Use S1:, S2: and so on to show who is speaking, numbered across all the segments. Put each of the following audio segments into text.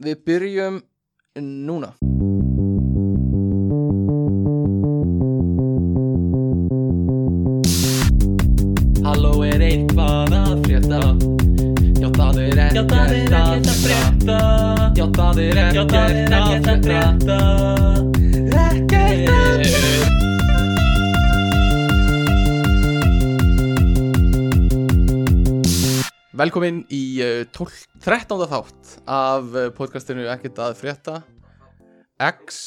S1: Við byrjum núna. Halló er eitthvað að frétta Já það er ekkert að frétta Já það er ekkert að frétta Ekkert að frétta Velkomin í eh, 12, 13. þátt af eh, podcastinu Ekkert að frétta X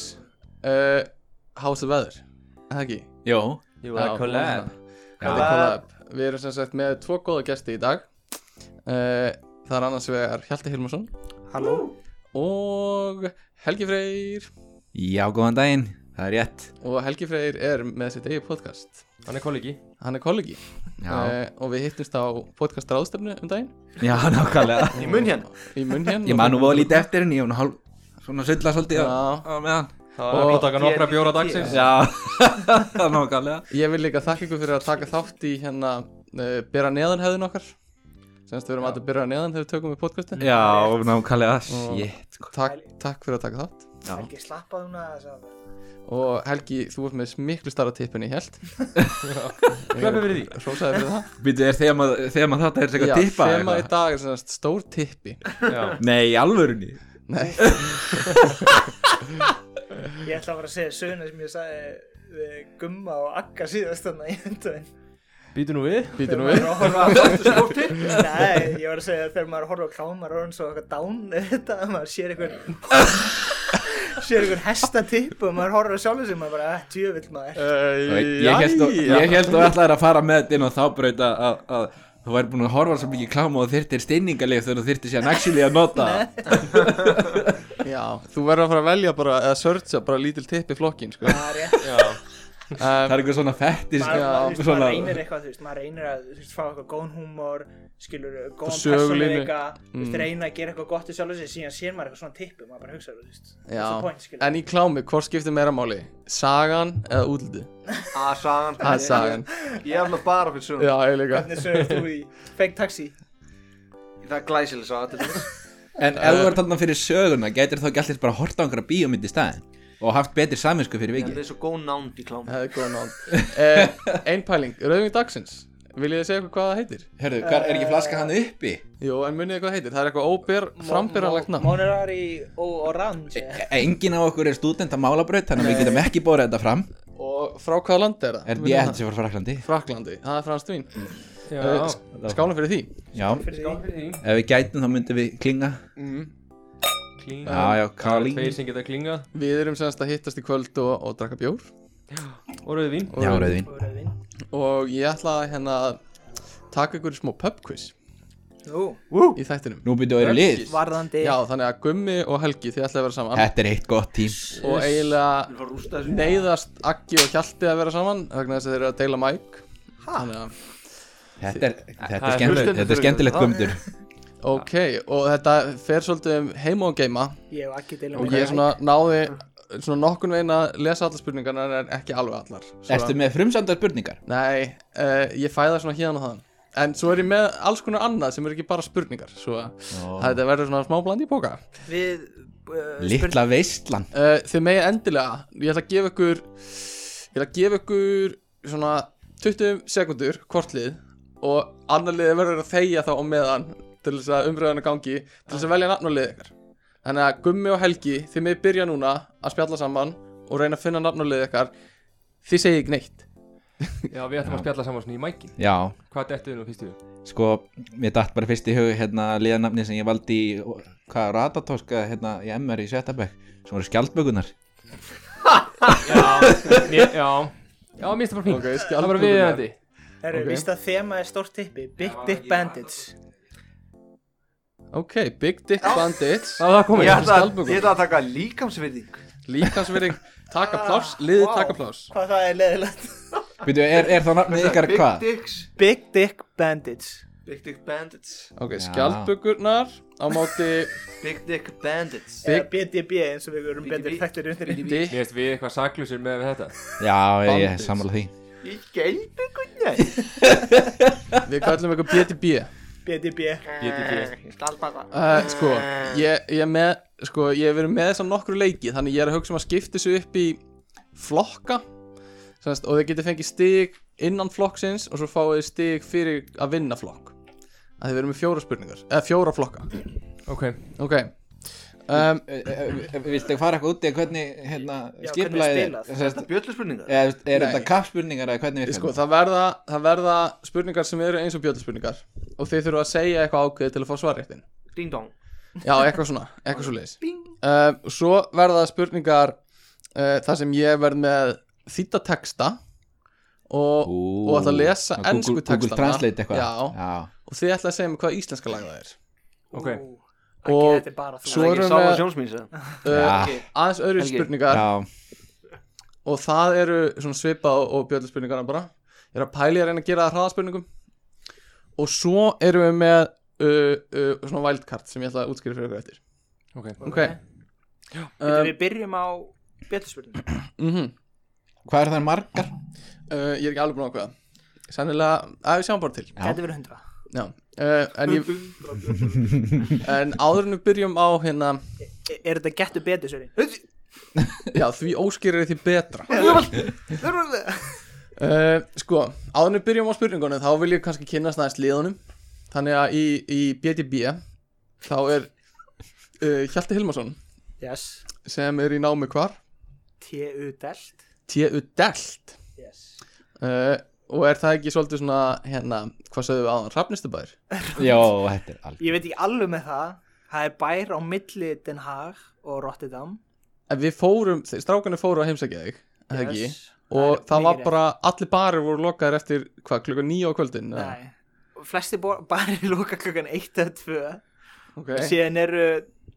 S1: uh, House of Weather Er Það ekki?
S2: Jó,
S3: Jú, það
S1: Já,
S3: er collab
S1: Þetta er collab Við erum sem sagt með tvo góða gesti í dag uh, Það er annars vegar Hjalti Hilmarsson
S3: Halló
S1: og Helgi Freyr
S2: já, góðan daginn, það er rétt
S1: og Helgi Freyr er með sitt eigið podcast
S3: Hann er kollegi
S1: Hann er kollegi Eh,
S2: Já,
S1: og við hittumst á podcast ráðstefnu um daginn
S2: já nákvæmlega
S3: Í munn hérna
S1: í munn hérna
S2: Ég man nú voða lítið eftir henni, ég var nú hálf svona sulla svolítið á
S1: Já,
S2: á meðan
S3: Það var að taka nokkra bjóra dagsins
S2: Já, nákvæmlega
S1: ég vil líka þakka ykkur fyrir að taka þátt í hérna uh, byrja neðan hefðin okkar semst við erum alltaf að byrja neðan þegar við tökum við podcastin
S2: Já, nákvæmlega, shit sko.
S1: takk, takk fyrir að taka þátt
S2: Já.
S4: Helgi slappaði hún að þess að
S1: og Helgi, þú ert með miklu starra tippin í held
S3: Klöpum fyrir því
S1: Rósaði fyrir það
S2: Býtu, er þegar maður þetta er eitthvað tippa
S1: Þema
S2: eða
S1: í
S2: eitthvað?
S1: dag er svona stór tippi
S3: Já
S2: Nei, í alvörunni
S1: Nei,
S4: Ég ætla að fara að segja söguna sem ég sagði við Gumma og Akka síðast þannig í endaðin
S3: Býtu nú við
S1: býtum við
S4: Nei, ég var að segja að þegar maður horfður á kláma maður er orðin svo eitthvað dán við þetta að maður sér einhvern sér einhvern hesta tipp og maður horfður á sjálfur sem maður bara að djövill maður
S3: Eh.
S2: Ég held þú- ég held þú ætlaðir að fara með þetta inn á þá braut að- að að þú væri búin að horfa svo mikið kláma og þyrtir steiningaleg þegar þú þyrtir sér nægsili að nota
S1: Já, þú verður að fara að velja bara eða searcha bara lítil tipp í flokkin sko.
S4: Það er rétt
S2: Það
S1: um,
S2: er eitthvað svona fettis
S4: maður,
S1: Já,
S4: maður, þú veist,
S2: svona-
S4: maður reynir eitthvað þú veist, maður reynir að þú veist, fá eitthvað góðan húmor skilur, góðan
S1: sögulínu.
S4: persónuleika þú
S1: Mm.
S4: veist, reyna að gera eitthvað gott í sjálf þessi síðan sér maður eitthvað svona tippu, maður bara hugsa þú veist,
S1: Já,
S4: that's the point, skilur.
S1: en í klámi, hvort skiptir meira máli? Sagan eða útliti?
S5: Að Ah, sagan
S1: Það er Ah, sagan
S5: Ég er alveg bara fyrir sögum
S1: Já, ég líka
S4: hvernig sögur þú í fake taxi
S5: Það er glæsileg saga til þess
S2: En ef þú ert þarna fyrir söguna, getur þá ekki allir bara að horta á einhverja bíómynd í staðin og haft betri saminsku fyrir
S5: Það
S2: vikið.
S5: er svo góð nánd í klám
S1: Það er góð nátt eh, Einn pæling, rauðing dagsins Viljið þið segja eitthvað hvað það heitir?
S2: Hörðu, hvað, er ekki flaska hann uppi?
S1: Jú, en munið þið hvað það heitir? Það er eitthvað óbyr, frambyrjanlegt nafn
S4: Monirari og Orange
S1: Eh,
S4: eða?
S2: Engin E, á okkur er stúdent að málabraut, þannig að við getum ekki bórið þetta fram.
S1: Og frá hvaða landi er það?
S2: Er ég held sem var fraklandi?
S1: Fraklandi, það er franskt vín
S3: Já
S1: Eh, sk- Skálum fyrir því
S2: Já,
S1: eh.
S4: Fyrir því.
S3: Klín
S2: ef við gætum þá myndum við klinga. Já, já, Kalín.
S3: Tveir sem geta klingað
S1: Við erum semst að hittast í kvöld og, og draka bjór
S3: Og rauði vín
S2: Já, rauðvin.
S4: Og rauðvín.
S1: Og ég ætla að, hérna að taka ykkur í smó pub quiz
S4: Nú,
S1: í þættinum
S2: Nú byrjuðu að vera lið.
S4: varðandi
S1: Já, þannig að Gummi og Helgi þið ætlaði að vera saman
S2: Þetta er eitt gott tím.
S1: og eiginlega
S5: Það er rústa þessu
S1: neyðast Akki og Hjalti að vera saman vegna þess að þeir eru að deila mæk Þannig að,
S2: Þetta er, þetta
S3: Það
S2: er
S3: er
S2: skemmtilegt,
S5: hlustendur
S2: þetta er skemmtilegt
S5: fyrir
S2: gumdur.
S1: ok, og þetta fer svolítið um heima og geima
S4: Ég hef ekki deilum
S1: og ég svona náði svona nokkun veginn að lesa allar spurningarnar en ekki alveg allar Svo-
S2: Ertu með frumsandar spurningar?
S1: Nei, uh, ég fæða svona hérna og þaðan En svo er ég með alls konar annað sem er ekki bara spurningar Svo að þetta verður svona smá bland í póka
S4: Við uh,
S2: Littla veistlan.
S1: uh, Þið megi endilega Ég ætla að gefa ykkur Ég ætla að gefa ykkur svona 20 sekundur hvort lið Og annar lið verður að þegja þá á meðan Til þess að umröðuna gangi Til þess að velja nafn á lið ykkar Þannig að Gummi og Helgi Þið megi byrja núna að spjalla saman Og reyna að finna nafn á lið ykkar Þið segi ekki neitt
S3: Já, við ætlum að spjalla saman svona í mækin
S2: Já,
S3: Hvað dettu þið nú fyrstu við?
S2: sko, mér datt bara fyrst í hug hérna liðanafni sem ég valdi í hvað, Ratatorska, hérna, í MR í Setabæk sem voru skjaldbökunar
S3: Mér- Já Já, mér finnst það bara fín
S1: Ok,
S3: Það var
S1: skjaldbökurnar.
S3: viðeigandi
S4: Það eru
S1: Ok.
S4: vist að þema er stórt tippi Big Dick Bandits
S1: Ok, Big Dick Bandits
S3: Það var það
S5: Ég
S3: komið
S5: ætla að-
S1: Skjaldbökur.
S5: ég ætla að taka líkamsvirðing
S1: Líkansverðing taka pláss, liðið taka pláss
S4: Hvað það er leðilegt
S2: Býtu, er, er þá nafnið ykkar
S5: Big
S2: hvað?
S5: Dicks
S4: Big Dick Bandits
S5: Big Dick Bandits
S1: Ok,
S2: Já.
S1: skjaldbökurnar á móti
S5: Big Dick Bandits
S1: Big-
S4: Eða BDB eins og við verum
S5: BDB.
S4: betur þekktir undir í
S1: Dick
S3: Mér finnst við eitthvað saklusir með þetta
S2: Já, ég, ég
S1: Bandits.
S2: sammála því
S5: Í gelbyggunni
S1: Við kallum eitthvað BTB
S4: BDB
S3: Ég get ekki
S1: uh, Sko, Eh, ég, ég er með sko, ég hef verið með þess að nokkru leiki þannig ég er að hugsa um að skipta þessu upp í flokka semst, og þið getur fengið stig innan flokksins og svo fáið þið stig fyrir að vinna flokk að þið verið með fjóra spurningar eða fjóra flokka
S3: Ok,
S1: ok um,
S2: Eh, Viltu fara eitthvað út í hvernig hérna,
S4: Já, hvernig
S2: skipulagið
S4: er spilað?
S2: er Sest,
S5: Bjölluspurningar
S2: eða, þú veist, Er
S1: Nei.
S2: þetta kappspurningar eða hvernig virkar
S1: sko,
S2: þetta?
S1: það, verða, það verða spurningar sem eru eins og bjöllspurningar og þið þurfa að segja eitthvað ákveðið til að fá svarréttin
S5: Ding dong
S1: Já, eitthvað svona, eitthvað svo leiðis uh, Svo verða spurningar uh, þar sem ég verð með þýta texta og,
S2: Ú,
S1: og ætla að lesa
S2: á
S1: ensku
S2: Google-
S1: textana
S2: Google Translate eitthvað
S1: Já, og þið ætla að segja mér hvað íslenska lag það er
S3: ok
S1: Og
S4: og þetta er bara þú
S1: svo
S5: Það er
S1: erum
S5: ekki sála
S1: við-
S5: sjónsmýns eða?
S1: uh,
S2: Já,
S5: Ekki.
S1: Aðeins öðru
S5: Helgi.
S2: já,
S1: spurningar
S2: já.
S1: og það eru svona svipað og, og bjöllspurningarna bara Ég er að pæli að reyna að gera það hraðaspurningum og svo erum við með uh, uh, svona wildcard sem ég ætla að útskýra fyrir ykkur eftir
S3: ok
S1: Ok,
S4: Getum
S1: um,
S4: við byrjum á bjöllspurning
S1: mm
S2: Hvað eru það margar?
S1: uh, Ég er ekki alveg búin að ákveða Sennilega, að við sjáum bara til
S4: Getum við hundra
S1: Já, uh, en, ég, en áður en við byrjum á hérna
S4: E, Er er þetta gettu betur sér
S1: Já, því óskýrir því betra
S4: Þetta
S1: uh, Sko, áður en við byrjum á spurningunum Þá vil ég kannski kynnast næst liðunum Þannig að í, í BDB Þá er uh, Hjalti Hilmarsson
S4: Yes
S1: Sem er í námi hvar
S4: T.U. Delt
S1: T.U. Delt
S4: Yes
S1: uh, Og er það ekki svolítið svona hérna Hvað sögðu við áðan? Hrafnistubær?
S2: Jó, þetta er alveg
S4: Ég veit ekki alveg með það Það er bær á milli Den Haag og Rotterdam
S1: En við fórum, þeir- strákarnir fóru að heimsækja þig yes. ekki?
S4: Yes.
S1: Og
S4: er
S1: það var
S4: mikið
S1: bara, allir barir voru lokaðir eftir, hvað, klukka nýja á kvöldin? eða?
S4: Nei, flesti bo- barir lóka klukkan 1 eða 2
S1: Ok,
S4: síðan eru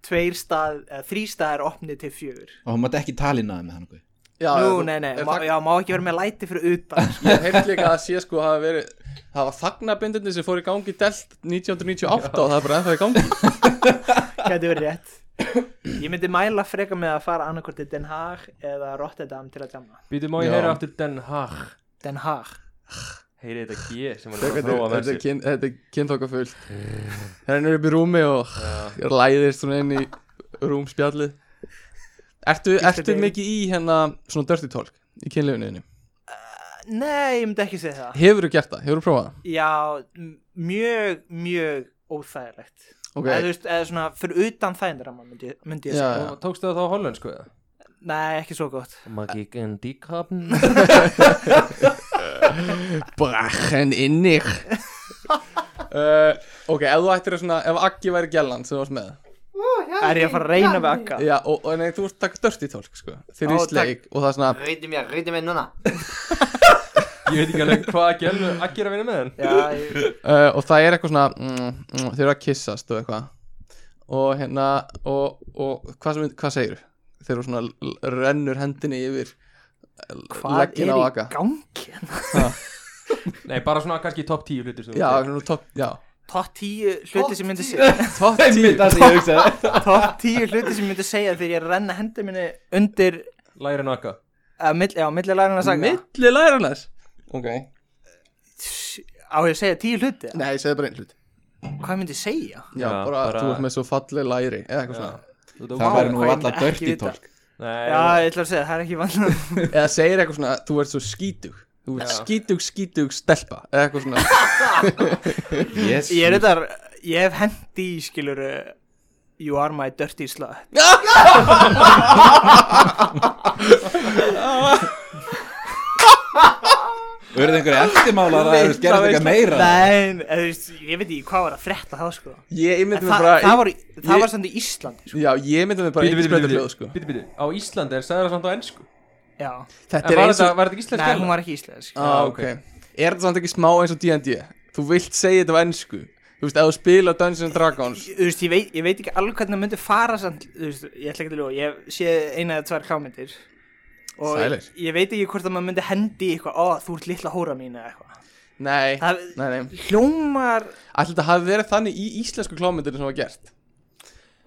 S4: tveir stað, eða þrý staðar opni til fjögur
S2: Og hún mátt ekki talinaði með hann guð.
S1: já,
S4: Nú,
S1: þú-
S4: nei, nei,
S1: er
S4: má,
S1: þak-
S4: já, má ekki vera með læti fyrir utan sko.
S1: Ég hef líka að sé sko hafa verið Það var þagnabindindi sem fór í gangi delt 1998 og það er bara ennþá í gangi
S4: Gæti verið rétt Ég myndi mæla freka með að fara annarkvort til Den Haag eða Rotterdam til að jamma
S3: Býtum á ég
S1: Já.
S3: heyra aftur Den Haag
S4: Den Haag
S3: Heyri þetta G sem hann er að þróa með
S1: Þetta er
S3: sér
S1: kyn- þetta er kynþokka fullt Það er upp í rúmi og læðist svona inn í rúmspjallið Ertu, ertu
S4: David.
S1: mikið í hérna svona dirty talk í kynleifuninni?
S4: Nei, ég myndi ekki segja það
S1: Hefurðu gert það? Hefurðu prófað það?
S4: Já, m- mjög, mjög óþægilegt
S1: Ok.
S4: eða, þú veist, eða svona fyrir utan þægindaramma myndi, ég- myndi ég
S1: Já,
S4: segja
S1: já.
S3: Og Tókstu það þá hollensku eða?
S4: Nei, ekki svo gott
S3: Magik en díkabn
S1: Brachen innir uh, Ok, ef þú ættir að svona Ef Aggi væri gælan sem þú varst með
S4: Er ég að fara að reyna við Akka?
S1: Já, og, og nei, þú ert takk dörti tólk sko Þeir eru
S4: Ó,
S1: í
S4: takk.
S1: sleik og það er svona
S5: Reyndi mér, reyndi mér núna
S3: Ég veit ekki alveg hvað að gera að gera vinna með hann
S4: Já, ég,
S1: uh, Og það er eitthvað svona mm, mm, Þeir eru að kyssast og eitthvað Og hérna Og, og hvað, sem, hvað segir Þeir eru svona l- rennur hendinni yfir
S4: hvað er
S1: leggina á
S4: í
S1: Agga.
S4: gangi? hérna?
S3: Nei, bara svona kannski topp 10 hlutir sem þú
S1: Já,
S3: gerir.
S1: svona topp, já
S4: Top 10 hluti sem myndi segja
S1: Topp tíu
S2: Það sem ég hugsaði
S4: top 10 hluti sem ég myndi segja þegar ég renna hendi minni undir
S3: Læri naka
S4: að milli, já, milli lærana saga
S1: Milli læra hans Ok
S4: á ég að segja 10 hluti
S1: Nei, ég segi bara einn hlut
S4: hvað myndi ég segja
S1: Já,
S3: Já,
S1: bara,
S3: bara-
S1: þú ert með svo falleg læri Eða eitthvað svona
S2: Það
S4: Vá,
S2: væri nú
S4: hvað ég
S2: alltaf
S4: myndi ekki
S2: dörti
S4: vita.
S2: tólk
S3: Nei,
S4: já ég ætla að segja það er ekki vann
S1: eða segir eitthvað svona þú ert svo skítug þú ert skítug skítug stelpa eða eitthvað svona
S2: Yes
S4: ég er þetta ég hef hendi í skilur you are my dirty slut
S2: Verður einhverju eftirmálar að það gerði eitthvað meira
S4: nei en, þú veist, ég veit ekki hvað var að frétta þá sko
S1: ég
S4: En
S1: myndi mig
S4: það,
S1: bara
S4: það var, það
S1: ég-
S4: var samt í Íslandi sko.
S1: já ég myndi mig bara
S3: Bíti,
S1: eins
S3: bíti,
S1: breyta
S3: bíti,
S1: hljóð sko
S3: bíti, bíti Á Íslandi er sagði það samt á ennsku
S4: Já,
S1: þetta
S3: En
S1: er
S3: var
S1: eins
S3: þetta,
S1: og
S3: var þetta ekki íslensk
S4: nei, hún
S3: gæla?
S4: var ekki íslensk
S1: ah,
S3: Já,
S1: ok er þetta samt ekki smá eins og D&D þú vilt segja þetta á ennsku þú veist ef þú spila Dungeons and Dragons
S4: Þú veist, ég veit, ég veit ekki alveg hvernig það myndi fara samt, þú veist, ég ætla ekki að ljóða, ég sé eina eða tvær klámyndir og
S1: Sælir.
S4: ég, ég veit ekki hvort að maður myndi hendi í eitthvað, ó, þú ert litla hóra mín eða eitthvað.
S1: nei
S4: Það
S1: nei nei
S4: hljómar...
S1: alltaf þetta hafi verið þannig í íslensku klámyndinu sem var gert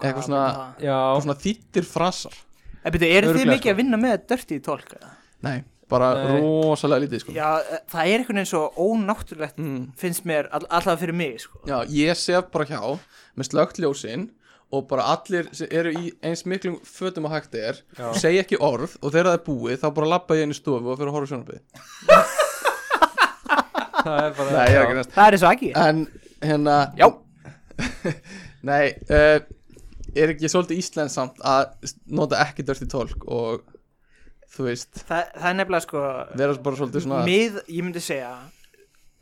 S1: eitthvað svona
S3: Já,
S1: eitthvað svona þýttir frasar
S4: En byrju, eru þið
S1: Örugglega, sko.
S4: mikið að vinna með dörti í tólk? eða?
S1: nei bara
S3: Nei.
S1: rosalega lítið sko
S4: Já, eh, það er einhvern veginn svo
S1: Mm.
S4: ónáttúrulegt, finnst mér, all, allavega fyrir mig, sko.
S1: Já, ég sef bara hjá með slögt ljósin og bara allir sem eru í eins miklum fötum að hægt er segja ekki orð og þegar það er búið þá bara labba ég inn í stofu og fyrir að horfa sjónarbyrði
S3: það er bara
S1: Nei, ég er ekki næst
S4: Það er eins og ekki
S1: En hérna Já Nei, uh, er ekki svolítið íslensamt að nota ekki Dirty Talk og þú veist,
S4: Það, það er nefnilega sko
S1: vera bara svolítið svona
S4: mið, Ég myndi segja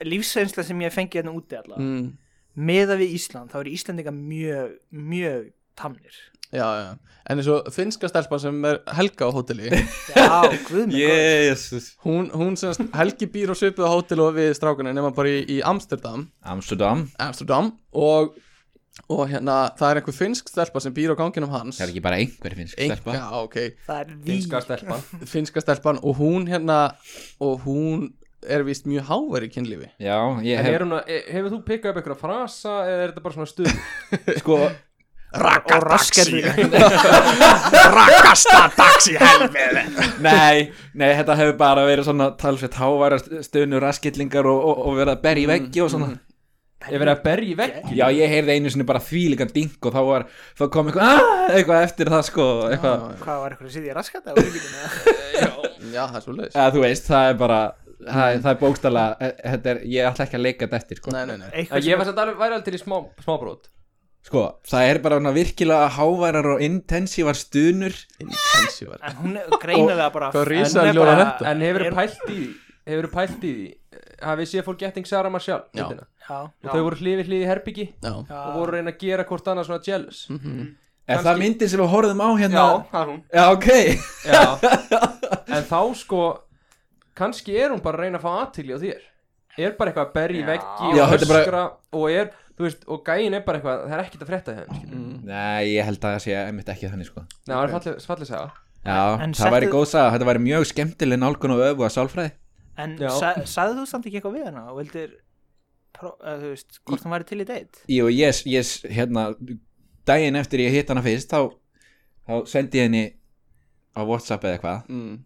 S4: Lífsreynsla sem ég hef fengið hérna úti allavega
S1: mm,
S4: Miða við Ísland, þá eru Íslandinga mjög, mjög tamnir
S1: Já, já, en eins og finnska stelpan sem er Helga á hóteli
S4: Já, guð mig yeah.
S2: Jesus
S1: hún, hún semst, Helgi býr á svipuð á hóteli og við strákunni nema bara í, í Amsterdam
S2: Amsterdam
S1: Amsterdam og, og hérna, það er einhver finnsk stelpa sem býr á ganginum hans
S2: Það er ekki bara einhver finnsk
S1: Ein-
S2: stelpa
S1: Já, ok,
S4: Það er því
S3: Finnska stelpan
S1: finnska stelpan og hún hérna og hún er vist mjög hávær í kynlífi
S2: Já, ég
S3: En
S2: hef
S3: er hún að, e- hefur þú pikkað upp einhverja frasa eða er þetta bara svona stuð?
S2: sko
S4: og raskar því
S2: Nei, nei, þetta hefur bara verið svona talsveit háværa stöðnu raskillingar og, og, og verið að berja í veggi og svona
S3: Ég verið að berja í veggi
S2: Já, ég heyrði einu sinni bara þvílíkan dink og þá, var, þá kom eitthvað, "Ah!" eitthvað eftir það sko eitthvað,
S4: Hvað var eitthvað að sitja í raskata á lífinu?
S1: Já, það er svo leiðis
S2: eða þú veist, það er bara það, er- það er bókstala, þetta er ég ætla ekki að leika þetta eftir sko.
S1: Nei, nei, nei
S3: Já, Ég var samt alveg, væri alveg til í smá, smábrót
S2: sko, það er bara svona virkilega háværar og intensívar stunur
S1: Intensívar
S4: En hún er greinilega bara
S1: Hvað risa
S4: hún er
S1: hljóðar
S4: bara-
S1: þetta?
S3: En hefur
S4: er-
S3: pælt í því Hefur pælt í því Hafið séð fólk getting Sarah Marshall
S1: Já.
S3: myndina?
S4: Já,
S3: Og þau voru hlifið hlifið í herbyggi
S1: Já,
S4: já.
S3: Og voru að reyna að gera hvort annað svona jealous
S2: er það myndin sem við horfðum á hérna
S5: Já, það er hún
S2: Já, ok
S3: Já En þá sko kannski er hún bara að reyna að fá aðtili á þér Er bara eitthvað að berja í
S5: Já.
S3: veggi
S2: Já,
S3: og
S2: þetta er bara-
S3: öskra Og er, þú veist, og gæin er bara eitthvað Það er ekkert að frétta henn mm.
S2: Nei, ég held að það sé einmitt ekki þannig sko
S3: Nei, það er falleg, falleg saga
S2: Já,
S4: En
S2: það væri
S4: settu-
S2: góð saga, þetta væri mjög skemmtileg nálgun og öfu að sálfræði
S4: En
S3: Já.
S4: sa sagði þú samt ekki eitthvað við hana og vildir pró- eða þú veist, hvort hún væri til í deitt
S2: Jú, ég, ég, hérna, daginn eftir ég hitt hana fyrst þá, þá sendi ég henni á Whatsapp eða eitthvað
S1: mm.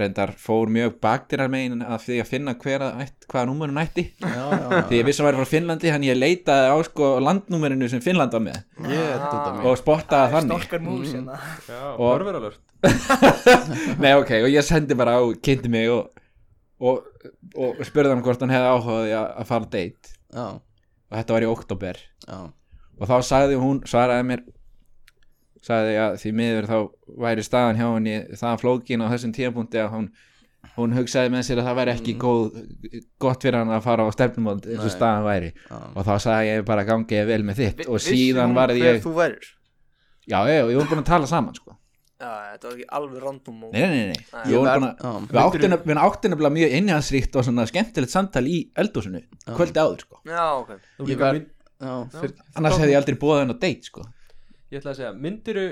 S2: reyndar fór mjög baktirar megin að því að finna hver að ætt, hvaða númurinn ætti
S1: já, já,
S2: því ég vissi að væri frá Finnlandi þannig ég leitaði á sko landnúmerinu sem Finnland var með
S1: já Ég er þetta mér
S2: og spottaði þannig
S4: Stokkar mús hérna
S3: Já,
S2: Og-
S3: örveralört
S2: Nei, ok, og ég sendi bara á, kynnti mig og, og, og spurði hann hvort hann hefði áhugaði að að fara á date
S1: Já,
S2: og þetta var í oktober
S1: já,
S2: og þá sagði hún, svaraði mér sagði að því miður þá væri staðan hjá henni það flókin á þessum tíðapunkti að hún hún hugsaði með sér að það væri ekki
S5: Mm.
S2: góð gott fyrir hann að fara á stefnumónd eins og
S1: Nei.
S2: staðan væri
S1: já
S2: og þá sagði ég bara gangið vel með þitt
S5: Vi-
S2: og
S5: vissi hún
S2: síðan varði
S5: hver
S2: ég
S5: þú verður
S2: já, já, ég voru búin að tala saman sko
S5: Já, þetta var ekki alveg random og
S2: nei, nei, nei, nei.
S5: Nei.
S2: Ég voru
S1: Ég
S2: búin
S1: verð- já.
S2: að við áttum nefnilega- við áttum nefnilega mjög innhjáðsríkt og svona skemmtilegt samtal í eldúsinu kvöldi áður sko
S5: Já, ok
S1: Ég
S3: Þú líka
S1: verð-
S3: mynd-
S1: Já, fyrir
S2: annars hefði ég aldrei búið henn á date sko
S3: Ég ætla að segja, myndiru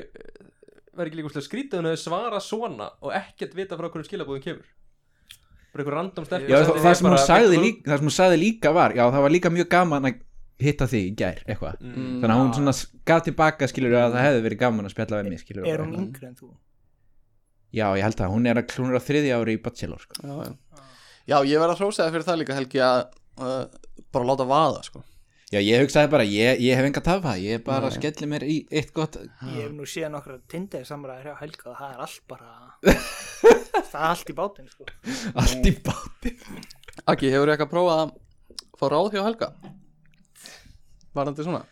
S3: verður ekki líka úrslega skrítið að hún hefur svarað svona og ekkert vita frá hverjum skilabóðum kemur bara einhver random stelpa
S2: Já,
S3: sendi
S2: það,
S3: þér
S2: það, sem hún
S3: bara,
S2: sagði
S3: "Vilt þú-
S2: líka, það sem hún sagði líka var Já, það var líka mjög gaman að hitta þig í gær eitthvað.
S1: mm,
S2: Þannig að hún svona s- gaf tilbaka skilur að það hefði verið gaman að spjalla við mig skilur
S4: Er hún yngri en þú?
S2: Já, ég held að hún er að klúnur á þriðja ári í bachelor sko.
S1: já, já. já, ég verð að hrósa það fyrir það líka Helgi að uh, bara láta vaða sko.
S2: Já, ég hugsaði bara, ég, ég hef enga tafa Ég er bara að skelli mér í eitt gott
S4: Ég hef nú séð nokkra tindir samræðir hjá Helga og það er allt bara það er allt í bátinn sko
S2: Allt í báti
S1: Akki, hefur eitthvað prófað að fá ráð hjá Helga? Varandi svona?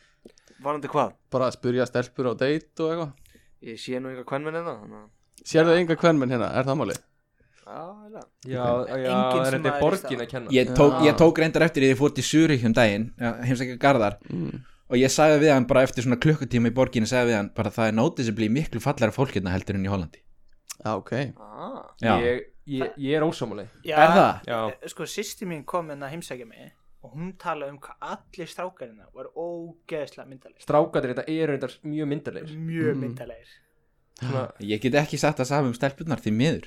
S5: Varandi hvað?
S1: Bara að spyrja stelpur á date og eitthvað
S5: Ég sé nú einhver kvennmenn hérna þannig að-
S1: Sérðu enga kvenminn hérna, er það málið?
S5: Já, eiginlega.
S3: Já,
S4: Enginn
S3: já,
S4: sem
S3: en
S4: maður
S3: þetta er
S4: er
S3: borgin
S4: staðar.
S3: að kenna
S2: Ég tók, ég tók reyndar eftir því ég fór til Súrik um daginn Heimsækja Garðar
S1: Mm.
S2: Og ég sagði við hann bara eftir svona klukkutíma í borginni Sagði við hann bara það er noticeably miklu fallara fólk hérna heldur en í Hollandi
S1: Já, ok
S5: Ah,
S2: Já.
S3: ég, ég, ég er ósámáli
S4: Já,
S2: Er það?
S3: Já,
S4: eh, Sko, sýsti mín kom en að heimsækja mig og hún talaði um hvað allir strákarina var ógeðslega myndalegir
S3: strákatir þetta eru reyndar mjög myndarleir
S2: Mm.
S4: mjög myndalegir
S3: Svona,
S2: Ég get ekki sagt það saman um stelpunnar því miður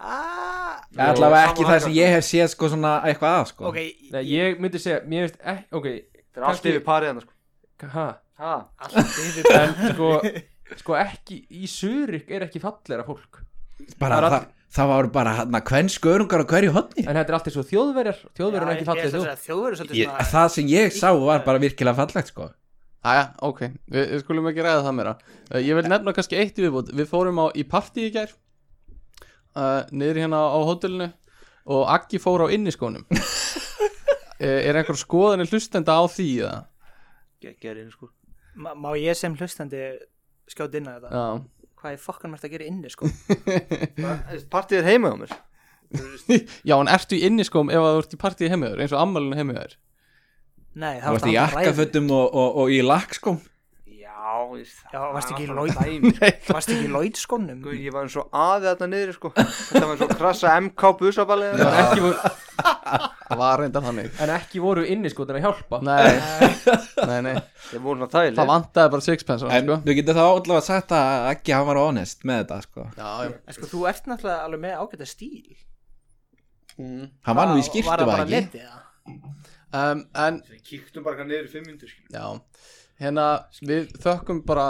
S4: aaaah
S2: Það er allavega
S5: sama
S2: ekki það
S5: hækkar.
S2: sem ég hef séð sko svona eitthvað að sko
S4: Ah, ok,
S3: Nei, ég myndi segja, mér veist ekki, ok,
S5: Þetta er allt
S3: Kannski-
S5: yfir parið hann sko
S3: ha
S5: Ha,
S4: allt yfir
S3: En sko, sko ekki, í Surik er ekki fallera fólk
S2: bara,
S3: Það er
S2: það,
S3: all-
S2: það var bara hann að hvern skörungar á hverju hotni
S3: En þetta er alltaf svo þjóðverjar, þjóðverjar er ekki fallið þjóð
S4: þjóð Þjóðverður er svolítið
S2: ég,
S4: svona
S2: Það sem ég sá var bara virkilega fallegt sko
S1: Æja, ok, við, við skulum ekki ræða það meira uh, Ég vil nefna kannski eitt í viðbútt Við fórum á, í partí í gær uh, Niður hérna á hótelinu Og Aggi fór á inniskónum uh, Er einhver skoðan hlustenda á því eða?
S5: Gekkjaður inn sko
S4: Ma, má ég sem hlustandi skjóta inn að þetta?
S1: Já
S4: Hvað er fokkan mært að gera inni sko?
S5: Partið er heima á mér
S1: Já, en ertu í inniskóm ef að þú ert í partí heimiður Eins og ammælun heimiður
S4: Nei,
S2: Þú
S4: það
S2: varst í jakkafötum og, og, og í sko. lakkskóm
S5: Já, ég-
S4: Já,
S5: það
S4: varstu
S5: er
S4: ekki í
S5: náttúrulega
S4: Lloyd-
S5: dæmi, sko.
S4: Varst ekki í Lloyd skónum?
S5: Guð, Ég var eins og aði þarna niður sko Þetta var eins og krassa MK busabalið
S3: En ekki voru,
S1: Það var reyndar þannig
S3: en ekki voru inni sko, þannig að hjálpa
S1: Nei, nei, nei
S5: Ég voru svona þægileg
S1: Það vantaði bara sixpence á hann,
S2: En
S1: sko.
S2: við getum þá allavega sagt að ekki hann var honest með þetta sko
S1: Já, já
S4: En sko, þú ert náttúrulega alveg með ágæta stíl.
S1: mm.
S2: Hann var nú í
S4: Hvað,
S2: skýrtu
S4: Var það
S2: var
S4: bara
S2: ekki
S4: netið, það?
S1: um, En
S5: Við kíktum bara niður í fimm myndir
S1: Já, hérna við þökkum bara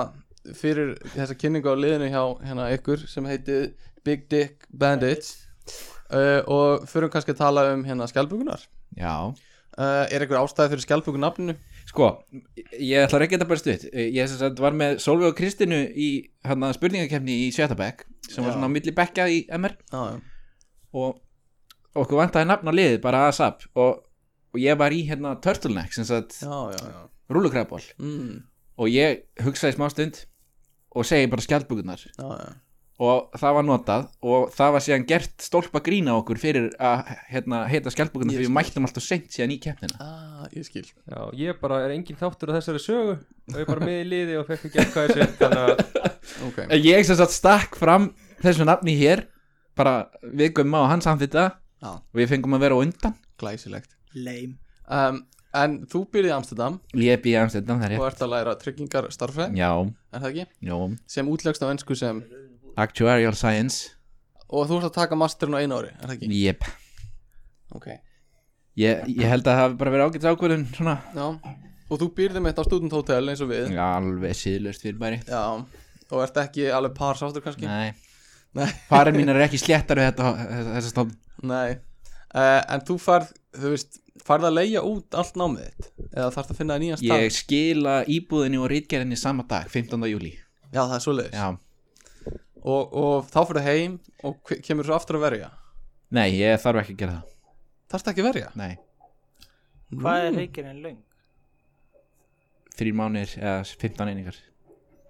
S1: fyrir þessa kynningu á liðinu hjá hérna ykkur sem heitir Big Dick Bandits uh, og förum kannski að tala um hérna skjálfbökunar
S2: Já
S1: uh, Er einhver ástæði fyrir skjálfbökunafninu?
S2: Sko, ég ætla að rekja þetta bara stutt Ég sem sagt, var með Solveig og Kristinu í hana, spurningakefni í Sjötabæk sem var
S1: Já.
S2: svona á milli bekka í MR
S1: Já, já,
S2: og okkur vantaði nafn á liðið bara að sap og, og ég var í hérna turtleneck sem sagt
S1: já, já, já.
S2: rúlukræðból
S1: Mm,
S2: og ég hugsaði smá stund og segi bara skjaldbökunar
S1: já, já.
S2: og það var notað og það var síðan gert stólpa grína okkur fyrir að hérna, heita skjaldbökunar
S1: Ég
S2: fyrir við
S1: skil.
S2: mættum alltaf seint síðan í keppnina
S1: Ah, ég skil
S3: Já, ég bara er engin þáttur á þessari sögu og ég er bara með í liði og fekk ekki eitthvað þessu þannig að
S1: Ok,
S2: En Eh, ég sem sagt stakk fram þessu nafni hér bara við gumma og hann samþýtta
S1: Já.
S2: og við fengum að vera á undan
S1: glæsilegt
S4: Lame.
S1: um, En þú byrðið í Amsterdam
S2: ég býði amstættan þar
S1: og
S2: ég
S1: ert að læra tryggingar starfræð,
S2: já,
S1: er það ekki?
S2: já,
S1: Sem útlegst á ennsku sem
S2: actuarial science
S1: og þú ert að taka masterinn á einu ári, er það ekki?
S2: yep.
S1: Ok,
S2: ég, ég held að það hafi bara verið ágætt ákvörðun svona
S1: já Og þú býrðið mitt á student hotel eins og við
S2: Já, alveg síðlust fyrir bæri
S1: Já, og ert ekki alveg par sáttur kannski?
S2: nei,
S1: Nei.
S2: farin mínar er ekki sléttar við þetta, þessa stofn
S1: Nei. Eh, en þú farð, þú veist, farð að leigja út allt námið þitt? Eða þarfst að finna þér nýjan stað?
S2: ég skila íbúðinni og rítgerðinni sama dag, 15. júli
S1: Já, það er svoleiðis.
S2: já.
S1: Og, og þá fyrir heim og ke- kemur svo aftur að verja.
S2: nei, ég þarf ekki að gera það
S1: Þarfst ekki að verja?
S2: nei,
S4: Hvað
S3: Mm.
S4: er reykjarinn löng?
S2: þrjir mánir eða 15 einingar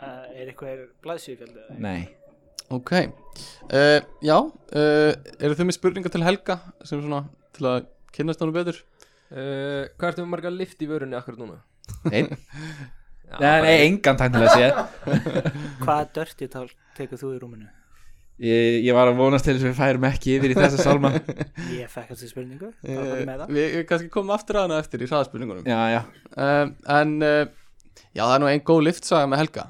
S4: Uh, er eitthvað blaðsýfjaldið?
S2: nei,
S1: Ok. Uh, já, uh, eru þau með spurningar til Helga sem svona til að kynnast honum betur?
S3: uh, hvað ertu með marga lift í vörunni akkur núna?
S2: einn
S3: Já,
S2: Nei, nei, engan tæknilega séð
S4: Hvaða dörti tál tekur þú í rúminu?
S2: ég, ég var að vonast til þess að við færum ekki yfir í þessa sálma
S4: Ég fekk þessi spurningu, þá
S1: Eh,
S4: komum með það.
S1: við við kannski komum aftur að hana eftir í hraðspurningunum.
S2: Já, já,
S1: um, en uh, já það er nú einn góð liftsaga með Helga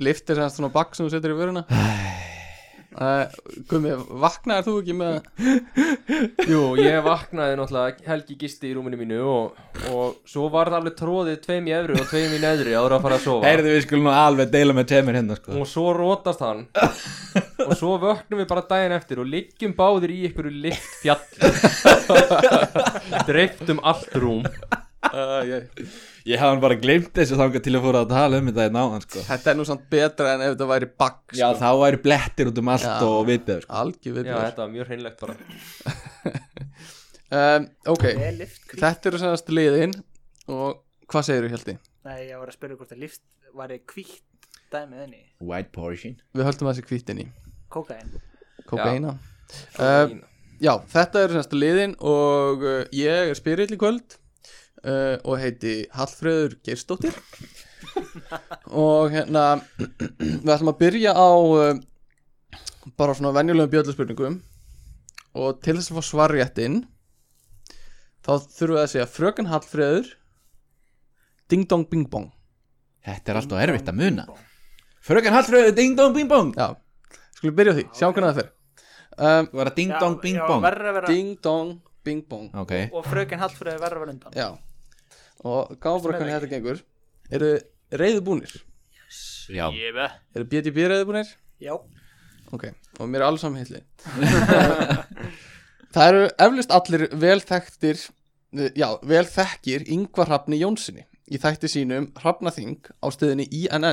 S1: lift er semst svona bakk sem þú setur í vöruna uh, Gumi, vaknaðar þú ekki með
S3: Jú, ég vaknaði náttúrulega helgi gisti í rúminu mínu og, og svo var það alveg tróðið tveim í efru og tveim í neðri áður að fara að sofa
S2: heyrðu við skulum nú alveg deila með tveimur hérna sko
S3: og svo rótast hann og svo vöknum við bara daginn eftir og liggjum báðir í einhverju lift fjall dreiftum allt rúm
S1: uh, ég.
S2: Ég hafði bara glemt þessu þangað til að fóra að tala um þetta hérna áðan sko
S1: þetta er nú samt betra en ef þetta væri bakk
S2: Já, þá væri blettir út um allt
S1: Já.
S2: og vitið sko.
S1: algjör
S3: Já,
S1: viðbjör
S3: þetta var mjög hreinlegt bara
S1: um, ok,
S4: Er lift? hvítt?
S1: þetta eru semst liðin og hvað segir þú Hjalti?
S4: Nei, ég var að spyrja hvort að lift var kvítt dæmið henni.
S2: White portion
S1: við höldum þessi kvítinni,
S4: Kókain.
S1: kokaina uh, Já, þetta eru semst liðin og uh, ég er spyrill í kvöld uh, og heiti Hallfröður Geirsdóttir og hérna við ætlum að byrja á uh, bara svona venjulegum bjölluspurningum og til þess að fá svarjættin þá þurfum við að segja fröken Hallfröður Ding Dong Bing Bong
S2: Þetta er alltaf erfitt að muna Fröken Hallfröðu, ding dong bing bong
S1: Já, skulum byrja á því, sjá hvernig það fer um,
S2: Þú var að ding dong bing
S4: Já,
S2: bong
S4: verður að vera,
S1: Ding Dong Bing Bong
S2: Ok,
S4: og fröken Hallfröði verður að vera undan.
S1: Já Og gáðum bara hvernig þetta gengur Eru reyðubúnir?
S2: já
S1: Eru BDB reyðubúnir?
S4: Já.
S1: Ok, og mér er alls saman heitli Það eru eflust allir velþekktir Já, velþekkir Yngvar Hrafni Jónssoni í þætti sínum Hrafnaþing á stöðinni INN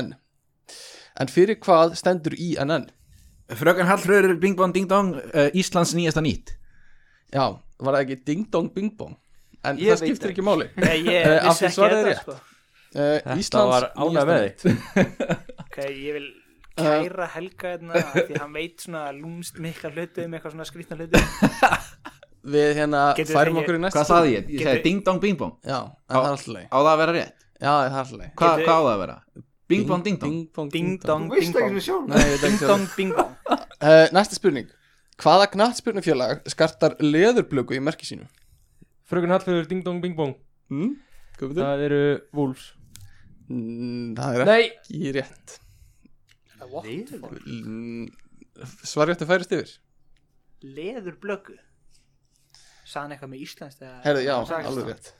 S1: En fyrir hvað stendur INN?
S2: Frökan Hallröður, Bing Bong Ding Dong uh, Íslands nýjasta nýtt
S1: Já, var það ekki Ding Dong Bing Bong? En
S5: Ég
S1: það
S5: veit
S1: skiptir ekki máli
S4: Nei, ég
S1: Eh, af því
S4: vissi ekki
S1: svarið er
S4: þetta
S1: rétt.
S4: sko.
S1: uh,
S3: Þetta
S1: Íslands
S3: var ánægð með þig
S4: Ok, ég vil
S1: Eh.
S4: kæra Helga hérna af því hann veit svona lúmst mikla hluti um eitthvað svona skrýtna hluti
S1: Við hérna
S4: Getur
S1: færum
S4: þið
S1: okkur í næst
S2: Hvað sagði ég? Ég
S4: Getur-
S2: sagði Ding Dong Bing Bong
S1: Já, en það er alltaf leið
S2: Á það að vera rétt?
S1: Já, það er alltaf leið
S2: Hva,
S4: Getur-
S2: Hvað á það að vera? Bing Bong Ding Dong
S1: Ding Dong
S4: Ding dong, ding
S5: Þú veist ekki
S4: dong
S5: svona sjálf
S1: Nei, ég veit
S4: Ding
S1: ekki
S4: dong, bing dong
S1: Uh, næsta spurning Hvaða knattspurnufélag skartar leðurblöku í merki sínu?
S3: Frökun Hallfjörður, Ding Dong Bing Bong
S1: Mm? Það,
S3: Það eru Wolves
S1: mm, það er
S3: Nei,
S1: ekki rétt
S5: Leður
S1: mm, Svarjöttu færist yfir
S4: Leður blöggu Saðan eitthvað með íslenskt eða
S1: Herðu, já,
S5: Sagðist það.
S1: alveg rétt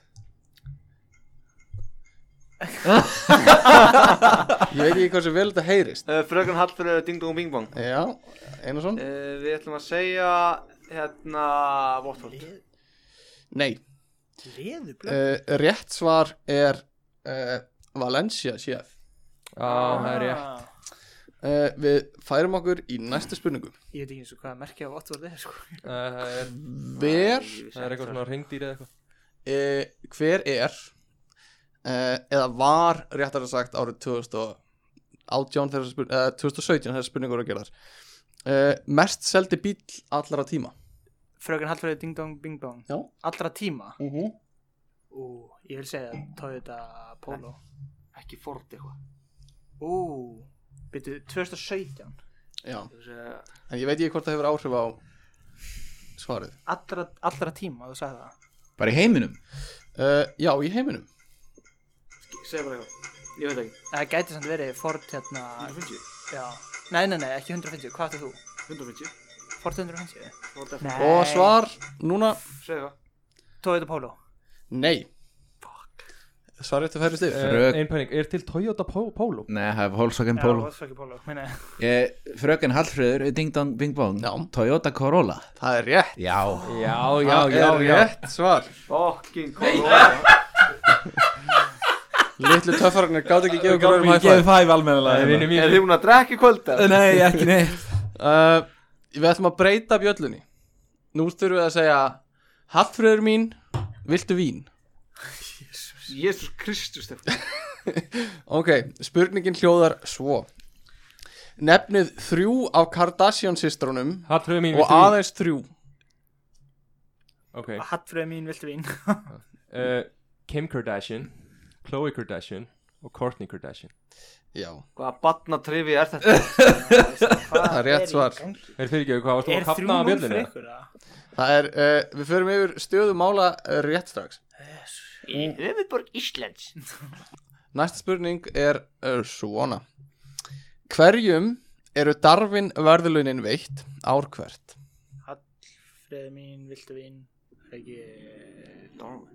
S1: Ég veit ekki hversu vel þetta heyrist
S5: Frökan Hallfjörður Eh, Ding Dong Bing Bong
S1: Já, Einarsson?
S5: uh, Við ætlum að segja hérna Votfold
S1: Nei
S4: Leður blöggu
S1: uh, Rétt svar er uh, Valencia séf
S3: á, það er ég
S4: Ah,
S1: uh, Við færum okkur í næstu spurningu
S4: Ég veit ekki eins og hvað merkja á Ottvar er sko
S3: Eh, Það er-
S1: Ver
S3: það er eitthvað svona reyndýr eða eitthvað
S1: uh, hver er uh, eða var réttar að sagt árið 2018 þegar þessar spurning, uh, 2017 þessar spurningur að gera uh, mest seldi bíl allara tíma
S4: Fröken Hallfræði ding dong, bing dong
S1: Já.
S4: Allra tíma
S1: uh
S2: mhm.
S1: -huh.
S4: Ú, ég vil segja Toyota Polo
S5: Ekki Ford eitthvað
S4: Ú, byrju 2017
S1: já,
S5: Þú veist, eh,
S1: en ég veit ekki hvort það hefur áhrif á svarið
S4: Allra, allra tíma, þú sagði það
S2: Bara í heiminum
S1: uh, já, í heiminum
S5: Segja bara eitthvað Ég veit ekki
S4: Það gæti samt verið Ford hérna
S5: 150
S4: Já Nei, nei, nei, ekki 150, hvað ætti þú?
S5: 150
S4: Ford 150?
S5: Ford F
S4: Nei
S1: og svar núna,
S5: Segja eitthvað
S4: Toyota Polo
S1: nei svarið þetta færist yfir
S2: Frök-
S3: Eh, Ein pæling, er til Toyota Po- Polo?
S2: Nei, það er Volkswagen
S4: Já,
S2: Polo
S4: Volkswagen Polo, meina ég.
S2: Eh, Frökan Hallfröður, Ding Dong Bing Bong
S1: Já.
S2: Toyota Corolla
S1: það er rétt
S2: Já
S3: Já,
S1: það er rétt svar
S5: Fucking Corolla
S1: litlu töffararnir gátt ekki að gefa okkur öðrum high five.
S2: Gefið fæf almennilega hérna.
S3: Það er vinni
S5: Er
S3: mín
S5: þið búin að drekka í kvöld eða?
S2: Nei, ekki neitt
S1: uh, Við ætlum að breyta bjöllunni Nú þurfum við að segja Hallfröður mín, viltu vín?
S5: Jésús Kristus Stefán.
S1: Ok, spurningin hljóðar svo Nefnið þrjú af Kardashian-systrunum
S3: Hallfjörður mín,
S1: Og
S3: viltu vín?
S1: aðeins þrjú
S3: Ok
S4: Hattfröð mín, viltu vín
S3: Eh, Kim Kardashian Khloe Kardashian og Kourtney Kardashian
S1: Já,
S5: Hvaða batna trivi er þetta?
S1: það er rétt svar
S3: Er fyrir ekki, hvað varst þú
S4: Er
S3: að kapna
S4: þrjú
S3: að
S4: núl fyrir
S3: bjöllinu?
S4: ykkur það?
S1: Það er, uh, við förum yfir stöðu mála uh, rétt strax
S5: Höfuborg Íslands
S1: Næsta spurning er uh, svona Hverjum eru darfin verðlunin veitt ár hvert?
S4: Hattfröð mín, viltu vín Það er ekki það er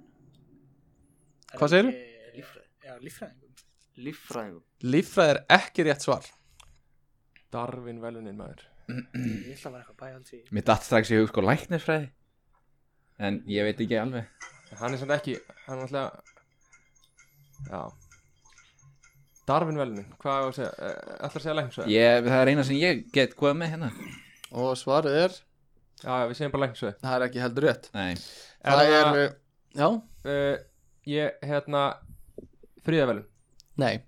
S1: Hvað segirðu?
S4: ekki- Líffræði Já, líffræðingum
S5: Líffræðingum
S1: Líffræð er ekki rétt svar
S3: Darvin velunin maður
S4: Ég ætla að vera eitthvað bæhalds í
S2: Mér datt strax í hug sko læknisfræði En ég veit ekki alveg
S3: En Hann er samt ekki, hann er alltaf Já Darvin velunin, hvað er að segja? Ætlar að segja lækningsvæði?
S2: ég, Það er eina sem ég get hvað með hérna
S1: Og svarið er,
S3: Já, já, við segjum bara lækningsvæði
S1: það er ekki heldur rétt
S2: Nei
S3: Er
S1: Það
S3: það-
S1: er, já,
S3: uh, Ég, hérna Fríðavelun
S1: nei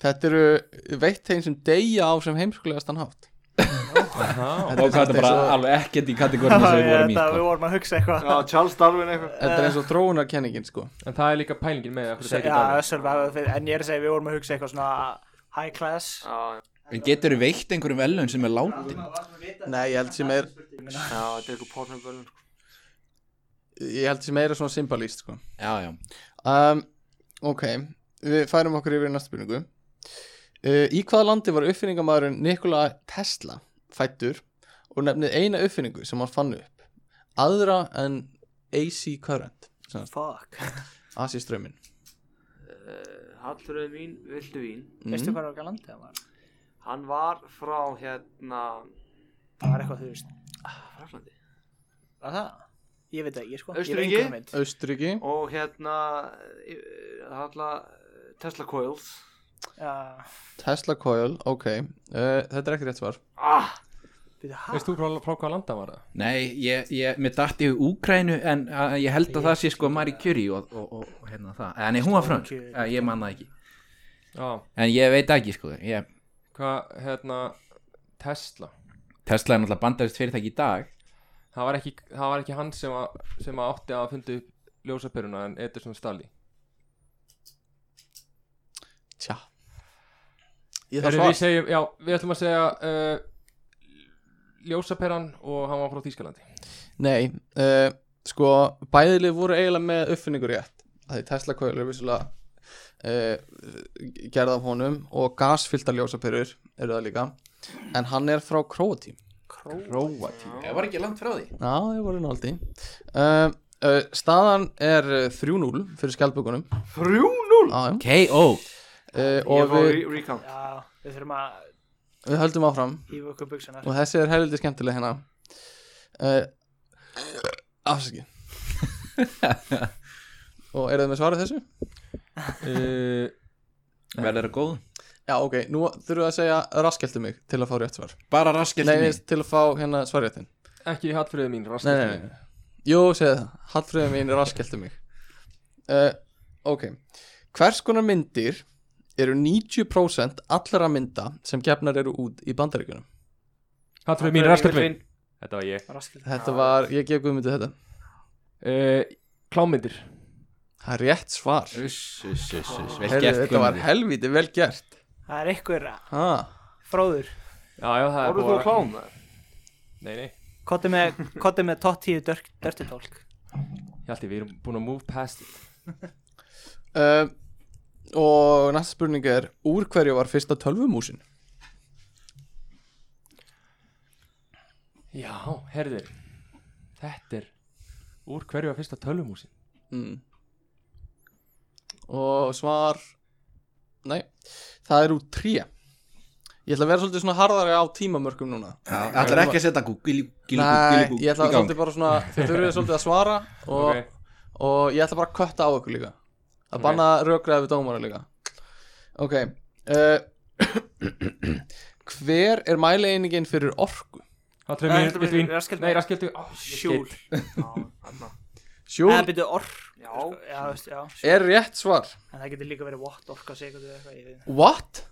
S1: Þetta eru veitt þeim sem deyja á sem heimskulegast hann hátt
S3: Já,
S2: Og hvað
S1: samt
S2: er bara
S1: eins og-
S2: alveg ekkert í kategórinu sem við vorum í
S4: Það
S2: sko.
S4: við vorum að hugsa eitthvað
S5: Já, Charles Darwin eitthvað
S1: Þetta er eins og þróunarkenningin sko
S3: En það er líka pælingin með okkur
S4: Já,
S3: tekið Darwin
S4: Össur, það- við- en ég er að segja við vorum að hugsa eitthvað svona high class
S5: Já,
S2: En getur veitt einhverjum velun sem er látin
S1: Nei, ég held sem er,
S5: já, þetta er eitthvað sko. pornabölun
S1: ég held sem er svona symbolist sko
S2: Já, já
S1: um, Ok, við færum okkur yfir í næstu spurningu uh, Í hvaða landi var uppfinningamæðurinn Nikola Tesla fættur og nefnið eina uppfinningu sem hann fann upp aðra en AC current
S4: Fuck
S1: AC strömmin
S5: Hallröðu Eh, mín, vildu vín
S1: Mm.
S4: Veistu hvað okkar landið það var?
S5: Hann var frá hérna
S4: Það var eitthvað þú veist
S5: Fraklandi
S4: Var það? Ég veit það ekki sko
S5: Austurríki?
S4: Ég hef enga hugmynd.
S1: Austuríki
S5: Og hérna eh, Halla Tesla Coils
S4: Já,
S1: Tesla Coil, ok uh, Þetta er ekki rétt svar
S5: ah,
S4: byrja, hæ?
S3: Veist þú frá, frá hvað landa var það?
S2: Nei, ég, ég, mér dætti í Úkrænu en að, ég held að það sé sko Marie Curie og, og, og, og hérna það Eh, Nei, hún var frönsk, Eh, ég man það ekki
S3: Já,
S2: En ég veit ekki sko, ég,
S3: hvað, hérna Tesla
S2: Tesla er náttúrulega bandarist fyrirtæki í dag
S3: Það var ekki, það var ekki hann sem, að, sem að átti að fundi upp ljósapyruna en Edison Stalli
S1: Tja Ég
S3: Eru
S1: þarf
S3: við
S1: svar
S3: segjum, já, við ætlum að segja uh, ljósaperan og hann var frá Þýskalandi
S1: Nei, uh, sko bæðilið voru eiginlega með uppfinningur rétt Af Því Tesla Coil er vissulega uh, gerð af honum og gasfylltar ljósapyrur eru það líka En hann er frá Króatím
S3: Króatí
S2: Það var ekki langt frá því
S1: Já, ég voru náldi uh, uh, Staðan er uh, 3-0 fyrir skjaldbökunum
S5: 3-0
S1: Já, já.
S2: K.O.
S1: uh,
S5: Ég
S1: Og
S5: fá
S1: við,
S5: re recount
S4: Já, við þurfum að
S1: við höldum áfram
S4: hýfa okkur um buksunar
S1: Og þessi er heldur skemmtileg hérna uh, Afsaki Og eru þið með svarið þessu?
S3: uh,
S2: Verður það góð?
S1: Já, ok, nú þurfum við að segja raskeltu mig til að fá rétt svar
S2: Bara raskilt
S1: Nei, nei, til að fá hérna svarréttin Nei,
S3: Ekki hattfriðu mín, rastur
S1: nei, nei, nei Jú, segðu það, hallfröðum mín raskeltu mig uh, Ok, hvers konar myndir eru 90% allra mynda sem gefnar eru út í bandaríkunum
S3: Hattfriðu mín, rastur mín Þetta var ég
S4: Raskildi
S1: Þetta var, ég gef guðmyndu þetta
S3: uh, Klámyndir
S1: Það er rétt svar
S2: Vel
S1: Heyrðu, Þetta
S2: gert
S1: var
S2: Guðmundur.
S1: helvítið vel gert
S4: Það er einhver eh,
S1: Ha,
S4: fróður
S3: Já, já, það er
S5: Orðu þú
S3: búið
S5: að klám það?
S3: Nei, nei
S4: Kotti með, kotti með tótt tíu dörti tólk
S3: Ég held ég, við erum búin að move past it
S1: uh, Og næsta spurning er Úr hverju var fyrsta tölvumúsin?
S3: Já, herðir Þetta er Úr hverju að fyrsta tölvumúsin
S1: Mm. Og svar Nei, það er úr tré Ég ætla að vera svolítið svona harðari á tímamörkum núna
S2: Það er ekki að setja gúk
S1: Nei, ég ætla
S2: í
S1: að
S2: gang
S1: svolítið bara svona Þið þurfið svolítið að svara og,
S3: Ok,
S1: og ég ætla bara að kötta á ykkur líka að
S3: Ok.
S1: banna rökraði við dómara líka ok uh, hver er mælieiningin fyrir orku
S3: hattfriðu
S4: Nei,
S3: mín,
S4: þetta
S3: viltu
S4: var-
S3: mín
S4: raskeldu.
S3: Nei, raskeldu
S4: Sjúl
S1: sjúl
S4: Það byrju orr
S5: Já.
S4: Já, veist, já sjúl.
S1: er rétt svar
S4: En það getur líka verið watt orka sekundu eða eitthvað ég veit
S1: what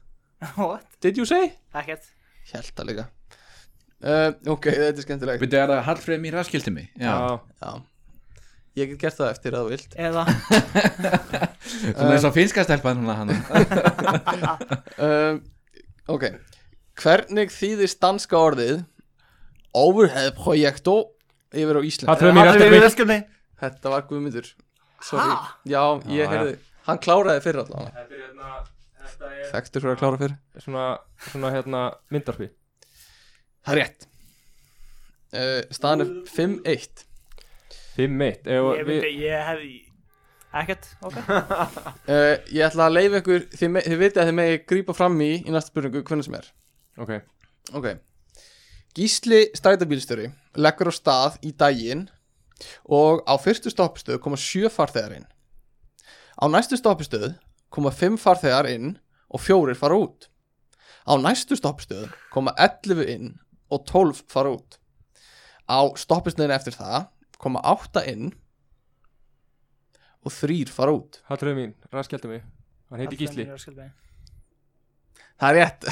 S4: ekki. What?
S1: did you say
S4: Ekkert
S1: held að líka uh, ok þetta er skemmtilegt
S2: Byrju, er það Hallfreð mín raskildi mig? Já
S3: Já,
S1: já ég get gert það eftir að þú vilt
S4: Eða
S2: Svona eins og finska stelpan hana hann
S1: uh, ok hvernig þýðist danska orðið overhead projekto yfir á Ísland
S3: hattfriðu mín, rastur mín
S4: raskulni
S1: þetta var Guðmundur sorry
S4: Ha?
S1: já ég
S3: Já,
S1: heyrði hann kláraði fyrir allan
S3: Þetta er hérna Þetta
S1: Þekktur fyrir að klára fyrir
S3: Svona, svona hérna myndarfi
S1: Það er rétt uh, Staðan er 5-1
S3: Fimm eitt
S4: Ég myndi, ég hefði Ekkert, ok
S1: uh, Ég ætla að leifa ykkur Þið, me- þið vitið að þið megi grípa fram í Í næsta spurningu hvernig sem er
S3: Ok,
S1: Ok Gísli strætabílstjóri leggur á stað í daginn og á fyrstu stoppistöð koma sjö farþegar inn. Á næstu stoppistöð koma fimm farþegar inn og fjórir fara út. Á næstu stoppistöð koma 11 inn og 12 fara út. Á stoppistöðin eftir það koma 8 inn og 3 fara út.
S3: hattfriðu mín, raskeldu mig Hann heiti Gísli
S4: Raskelni.
S1: Það er rétt.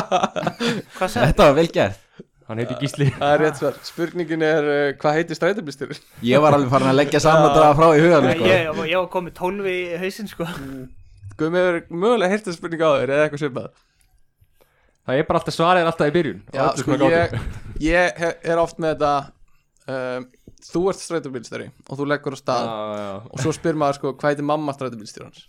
S4: Hvað sagði?
S2: Þetta var vel gert
S3: Hann heiti Gísli
S1: Það er rétt svar. Spurningin er uh, hvað heitir strætabílstjóri?
S2: Ég var alveg farin að leggja saman draga frá í sko. hugan
S4: Ég, ég, var- ég var komið tólfi í hausinn sko
S1: Guðum við mögulega heyrta spurninga á þér eða eitthvað svipað?
S3: Það er bara alltaf svarið er alltaf í byrjun Og
S1: Já,
S3: öllu
S1: sko,
S3: svona gátur.
S1: ég, ég he- er oft með þetta um, Þú ert strætóbílstjóri og þú leggur á stað
S3: Já, já
S1: og svo spyr maður sko, hvað heitir mamma strætóbílstjórans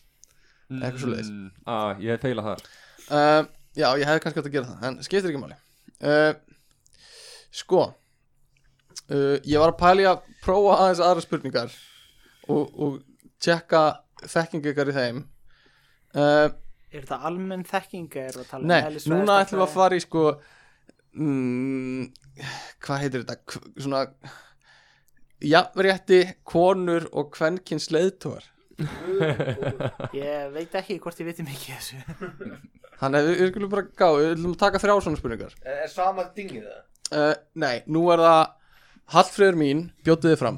S1: Eitthvað svoleiðis.
S3: Já, Mm. Ah, ég hef feilað þar
S1: um, Já, ég hefði kannski átt að gera það en skiptir ekki máli uh, Sko uh, Ég var að pæli að prófa aðeins aðra spurningar og, og tjekka þekkingu ykkar í þeim uh,
S4: Er þetta almenn þekking eða erum við að tala um
S1: Nei,
S4: eðlisfræði,
S1: núna ætlum við að
S4: stærðfræði?
S1: fara í sko mm, Hvað heitir þetta? K svona Jafnrétti, konur og kvennkins leiðtóar
S4: Ég veit ekki hvort ég viti mikið af þessu
S1: Þannig að við, við skulum bara gá, við viljum taka þrjá svona spurningar
S5: Eh, Er sama dingið það?
S1: uh, Nei, nú er það Hallfröður mín, bjóttu þið fram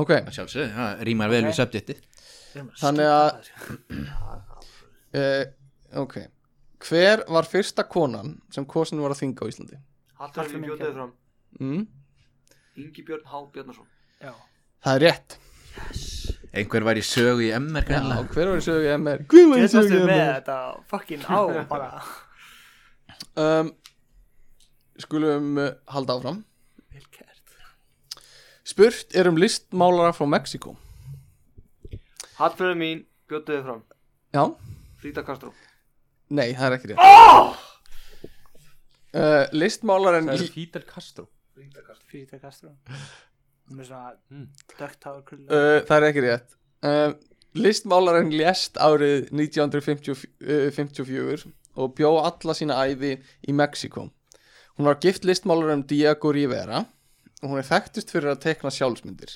S1: Ok,
S2: Sjálfsög, það rýmar vel
S4: Ok.
S2: við subjektið
S1: Þannig að- uh, ok Hver var fyrsta konan sem kosin var að þinga á Íslandi?
S5: Haldur
S4: Hallgrímur
S5: minn bjótið
S4: Kjarval.
S5: fram
S1: Mm?
S5: Ingi Björn Há Bjarnason
S4: Já
S1: Það er rétt
S2: Einhver var í sögu í MR
S1: Já,
S2: greinlega.
S1: hver var í sögu í MR? Hver var í
S4: Getur
S1: sögu í
S4: við með
S1: MR?
S4: þetta fucking á bara
S1: Um, skulum uh, halda áfram
S4: Vel kert
S1: Spurt er um listmálara frá Mexiko
S5: Hallur mín bjótið fram
S1: Já,
S5: Frida Castro
S1: nei, það er ekki rétt oh! uh, Listmálaren
S3: Það
S1: í-
S3: er Fidel Castro
S4: Frida Castro Hún er svona
S3: Mm.
S4: dögt hár krull
S1: Uh, það er ekki rétt uh, Listmálarinn lést árið 1954 og bjó alla sína æði í Mexiko Hún var gift listmálarinn Diego Rivera og hún er þekktust fyrir að tekna sjálfsmyndir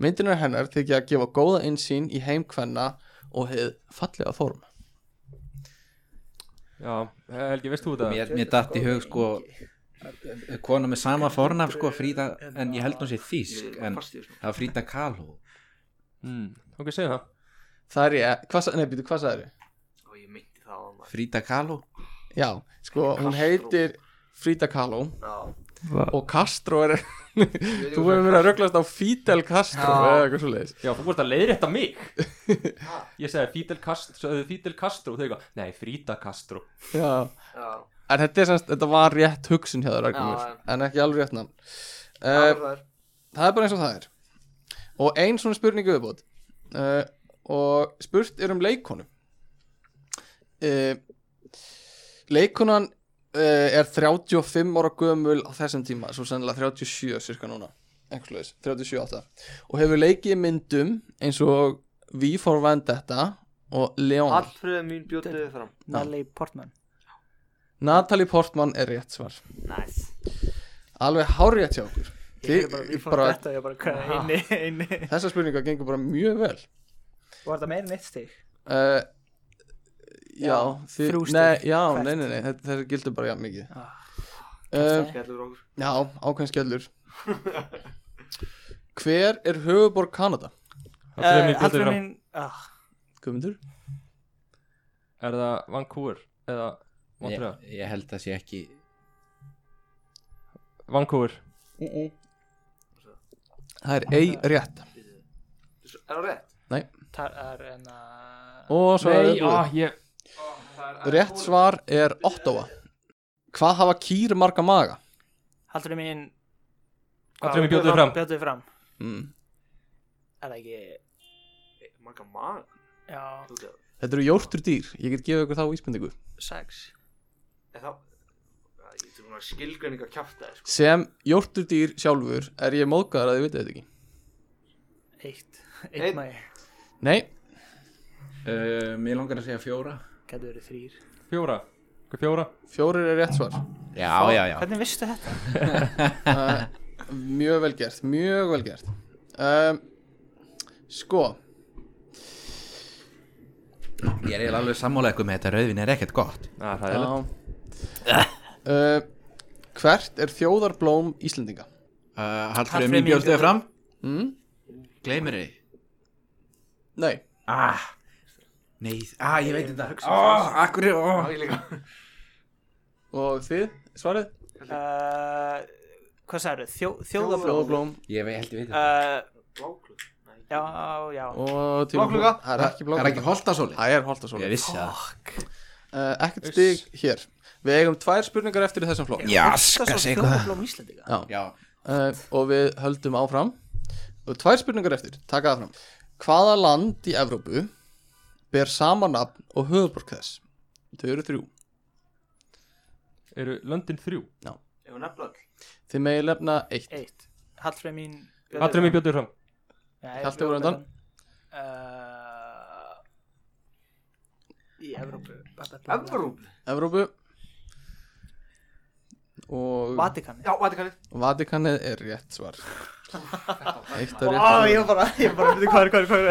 S1: Myndinar hennar þykja að gefa góða einsýn í heimkvenna og hefð fallega form
S3: Já, Helgi, veist þú þetta?
S2: Mér, mér datt í hug sko kona með sama fornaf sko Frida, en ég held hún sér þýsk en
S5: Fast í þessu
S2: það var Frida Kahlo
S3: Mm. Ok, segðu það
S1: Það er ég, hvað, sa- nei býtu, hvað sagði
S5: Og ég myndi það á hann maður.
S2: Frida Kahlo
S1: Já, sko, hún heitir Frida Kahlo
S5: Já.
S1: og Castro er
S5: Ég veit
S1: Þú
S5: ekki
S1: hefur verið að röglast á Fidel Castro
S4: Já.
S1: eða eitthvað svo leiðis
S3: Já, þú vorst að leiðrétta mig Ég segði Fidel Castro, sagði Fidel Castro Þau eitthvað, nei, Frida Castro
S1: Já
S5: hvað- Já,
S1: En þetta, er semst, þetta var rétt hugsun hjá þér Ragnhildur,
S5: Já,
S1: En ekki alveg rétt nafn
S5: það
S1: uh,
S5: var það er.
S1: Það er bara eins og það er Og ein svona spurningu viðbót uh, Og spurt er um leikonu uh, Leikonan uh, er 35 ára gömul á þessum tíma Svo sennilega 37 cirka núna Einhvers leis, 37-8 Og hefur leikið í myndum eins og V for Vendetta og Leon
S5: Hallfreður mín bjótið fram
S4: Natalie Portman
S1: Natalie Portman er rétt svar
S5: Nice
S1: Alveg hárétt hjá okkur
S4: Ég
S1: Þið-
S4: er bara, ég fór
S1: bara-
S4: að þetta, ég er bara hvað, einni, einni
S1: Þessar spurningar gengur bara mjög vel
S4: Var þetta meira en eitt stig?
S1: uh, Já,
S4: Já,
S1: þið,
S4: þrjú stig
S1: nei, já
S4: hvert.
S1: nei, nei, nei, þetta- þessar gildur bara jafn mikið
S4: Ah,
S1: uh,
S5: Skellur okkur
S1: Já, ákveðin skellur Hver er höfuborg Kanada?
S3: Hallgrímur bjóttu
S4: Hallur
S3: fram.
S4: minn Eh, ah,
S1: Guðmundur?
S3: Er það Vancouver? Eða
S2: ég,
S3: Montreal?
S2: ég held það sé ekki
S3: Vancouver
S1: Það er ei rétt
S5: Er það rétt?
S4: Það er en eh, að
S1: Og svo er
S3: Nei,
S1: það
S4: ah.
S3: á, ég
S1: Rétt svar er Ottawa Hvað hafa kýr marga maga?
S4: Haldur minn
S3: Hallur minn bjóttu fram
S4: Bjótið fram
S1: Mm.
S4: Er það ekki
S5: Marga mann
S4: Já,
S1: Þetta eru jórtur dýr, ég get gefið ykkur þá íspendingu
S4: sex
S5: En þá Já, Ég veit að skilgreininga kjafta þér sko
S1: Sem jórtur dýr sjálfur er ég móðgæðar að þið vitið þetta ekki
S4: Eitt
S5: Einn.
S4: Eitt mæ
S1: Nei,
S2: uh, Mér langar að segja fjóra
S4: Gætu verið þrýr
S3: Fjóra Hvað fjóra?
S1: fjórir er rétt svar
S2: Já, já, já
S4: Hvernig vistu þetta?
S1: uh, mjög vel gert mjög vel gert um, sko
S2: Ég er eiginlega alveg sammála eitthvað með þetta rauðvin er ekkert gott
S3: Næ, það er
S1: já. uh, hvert er þjóðarblóm Íslendinga
S2: uh,
S4: Hallfreður
S2: Hallfrið
S4: mín
S2: mín bjóðstu þið fram
S1: mm?
S2: Gleimir þið
S1: nei,
S2: ah, Nei, ah, ég veit þetta oh, Akkur, oh.
S5: Já, ég líka
S1: og þið svarið
S4: Uh, hvað sagðu? Þjó, þjóðablóð
S1: þjóðarblóm
S2: Ég vei, held ég veit þetta
S4: uh,
S5: Bláklug
S4: Já, já
S1: og tímabók-
S5: Bláklukka.
S1: það er ekki
S2: Er ekki
S1: blákluga
S2: holta svolít?
S1: það er holta svo
S2: Ég vissi það
S1: uh, ekkert stig hér við eigum tvær spurningar eftir í þessum flokk
S2: Já,
S4: Það
S2: skal
S4: er svo um
S2: segja hvað
S4: þjóðablóð Íslandika
S1: Já.
S2: Já,
S1: uh, og við höldum áfram og tvær spurningar eftir, taka það fram hvaða land í Evrópu ber sama nafn og höfuborg þess þau eru þrjú,
S3: Eru London þrjú?
S5: Ef hún nefnla all
S1: þið megi lefna eitt
S4: Eitt Hallfrið mín
S3: Hallur minn bjóttu fram
S1: Hjalti voru undan.
S4: uh, Eh, Í Evrópu
S5: Evróp
S1: Evrópu og
S4: Vatikan
S5: Já, þetta kannið
S1: Vatikanið er rétt svar Eitt af rétt
S4: Ó,
S1: svar
S4: ég var bara, ég var bara, veitir hvað er, hvað er, hvað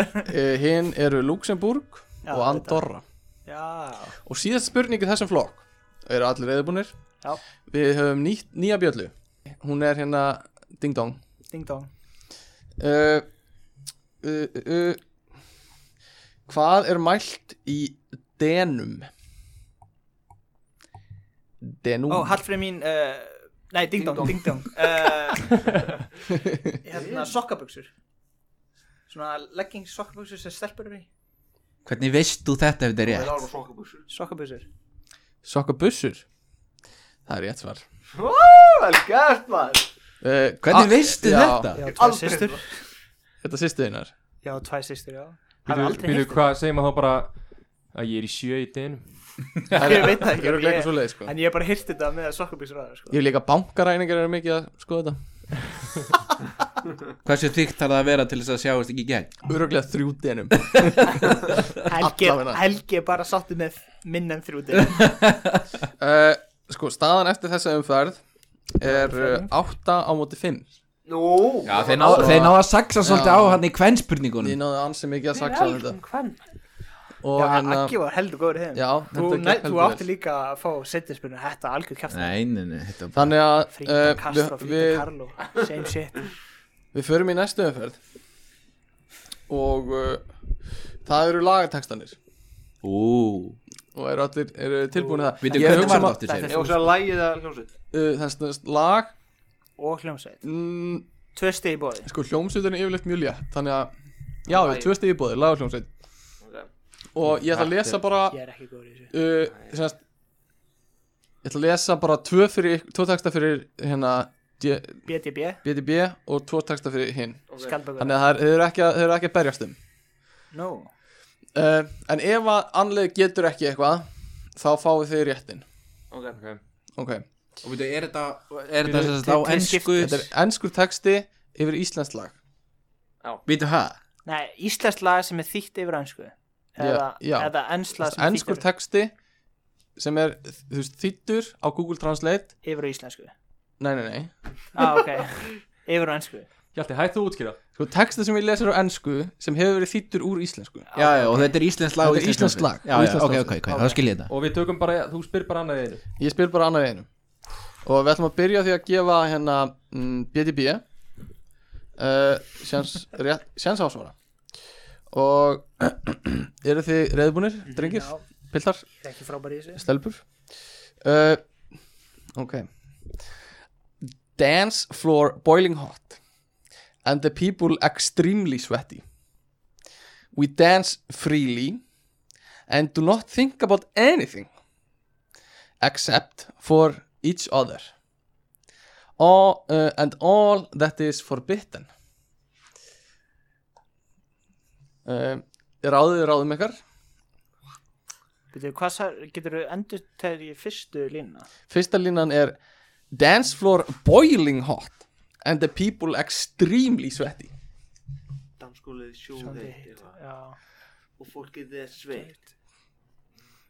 S4: er
S1: Hinn eru Luxemburg
S4: Já,
S1: og Andorra
S4: Já,
S1: Og síðast spurningi í þessum flokk Eru allir reyðbúnir
S4: Já.
S1: Við höfum ný, nýja bjöllu Hún er hérna Ding Dong
S4: ding dong
S1: uh, uh, uh, Hvað er mælt í denum? Denum
S4: Ó, Hallfrið mín, uh, nei, ding dong, ding dong uh, Hérna, sokkabuxur Svona leggings sokkabuxur sem stelpur eru í
S2: Hvernig veist þú þetta ef þetta er
S5: Það er
S2: rétt?
S5: alveg sokkabuxur
S4: Sokkabuxur
S1: Sokkabussur Það er rétt svar
S5: Vel gert maður
S1: uh,
S2: Hvernig veistu þetta?
S4: Ah, Já, tvær
S5: Aldrei
S4: systur
S1: Þetta sýstuðinar
S4: Já, tvær systur, já Hafði
S3: Býtu,
S4: aldrei
S3: býtu,
S4: heyrt
S3: hvað segir maður þá bara að ég er í sjö í dynum
S4: Ég
S1: Ég
S4: veit það ekki,
S1: er að
S4: ég-
S1: leika svo leið sko
S4: En ég hef bara hýrt þetta með sokkabuxur aðeins,
S1: Ég
S4: sko
S1: er líka bankaræningar eru mikið að sko þetta
S2: Hversu tryggt þarf það að vera til þess að sjáast ekki í gegn?
S1: Öruglega þrjú denum
S4: Helgi,
S1: allavega.
S4: Helgi er bara sáttu með minn en þrjúti
S1: uh, Sko staðan eftir þessa umferð Er uh, 8 á móti 5
S5: Nú
S2: Já, þeir ná, þeir ná að saksa svolítið
S1: Já.
S2: á hann í
S1: Ég
S2: kvennspurningunum
S1: náði ansi mikið að saksa á þetta
S5: Um hvern
S1: Og
S4: Já,
S1: hérna
S4: Aggi var heldur góður í þeim
S1: Já,
S4: Þú,
S1: þetta
S4: næ,
S1: gekk
S4: þú
S1: heldur
S4: átti
S1: vel.
S4: líka að fá setjinspyrna Þetta algjör kæft
S2: Nei, nei, nei, þetta er bara
S1: Þannig að
S4: Frida
S1: uh,
S4: Castro,
S1: við,
S4: Frida
S1: við,
S4: Carlo Same shit
S1: við förum í næstu umferð Og uh, það eru lagartekstanir
S2: Ú,
S1: Og eru allir eru tilbúin í það
S2: veitum
S1: Ég er að
S2: hvernig
S1: hugsa
S2: var
S1: um
S2: það
S1: að-
S2: aftur sér?
S5: Ég ósað að lægið að hljómsveit
S1: uh, Þess að lag
S4: Og hljómsveit
S1: mm,
S4: Tvö stið í bóði
S1: Sko hljómsveitin er yfirleitt mjög létt Þannig að Já, við
S5: Lagið.
S1: tvö stegi bóðir, lagar hljómsveit Og ég ætla að lesa bara
S4: Ég er ekki góður í þessu
S1: uh, semast, Ég ætla að lesa bara tvö, fyrir, tvö texta fyrir hérna D-
S4: BDB
S1: BDB og tvo texta fyrir hinn
S4: Skaldbökur
S1: Þannig að það er- þeir eru ekki, að- þeir eru ekki að berjast um
S4: No
S1: uh, En ef að anlið getur ekki eitthvað Þá fáið þið réttin
S5: Ok
S3: okay.
S1: Ok,
S2: Og veitum, er þetta, er þetta sem sagt á
S4: Til- til
S2: ennsku?
S4: skiptis.
S1: þetta er ennskur texti yfir íslensk lag
S2: Veitum það?
S4: Nei, íslenskt lag sem er þýtt yfir ansku Eða,
S1: Já, já.
S4: eða ensla sem er þýtt
S1: Ennskur
S4: yfir,
S1: texti sem er þú veist, þýttur á Google Translate
S4: yfir á íslensku
S1: Nei, nei, nei
S4: ah, ok Yfir á ansku
S3: Hjalti, hættu að útskýra
S1: Sko, texti sem ég lesur á ennsku sem hefur verið þýttur úr íslensku
S2: Já, já, og þetta er íslensk lag og
S1: Þetta er
S2: íslensk
S1: íslenskt lag
S2: tónlist. Já,
S1: og
S2: já,
S1: íslensk
S2: ok, ok,
S1: tónlist.
S2: ok, þá skil ég þetta
S3: og við tökum bara, þú spyr bara annað einu
S1: Ég spyr bara annað í einu Og við ætlum að byrja á því að gefa hérna mm, BDB uh, Sjans rétt- Sjans ásvara Og Eru þið reyðbúnir, drengir,
S4: Já,
S1: piltar,
S4: ég er ekki frábær í þessu
S1: stelpur uh, Ok Dance floor boiling hot And the people extremely sweaty We dance freely And do not think about anything Except for each other all, uh, And all that is forbidden uh, Ráðið ráðum ykkar
S4: Býtu, hvað sær, getur þú endur þegar ég fyrstu línuna?
S1: Fyrsta línan er Dance floor boiling hot And the people extremely sweaty
S5: Danskólið
S4: Sjóndi
S5: sjóði
S4: heitt Já
S5: Og fólkið er sveitt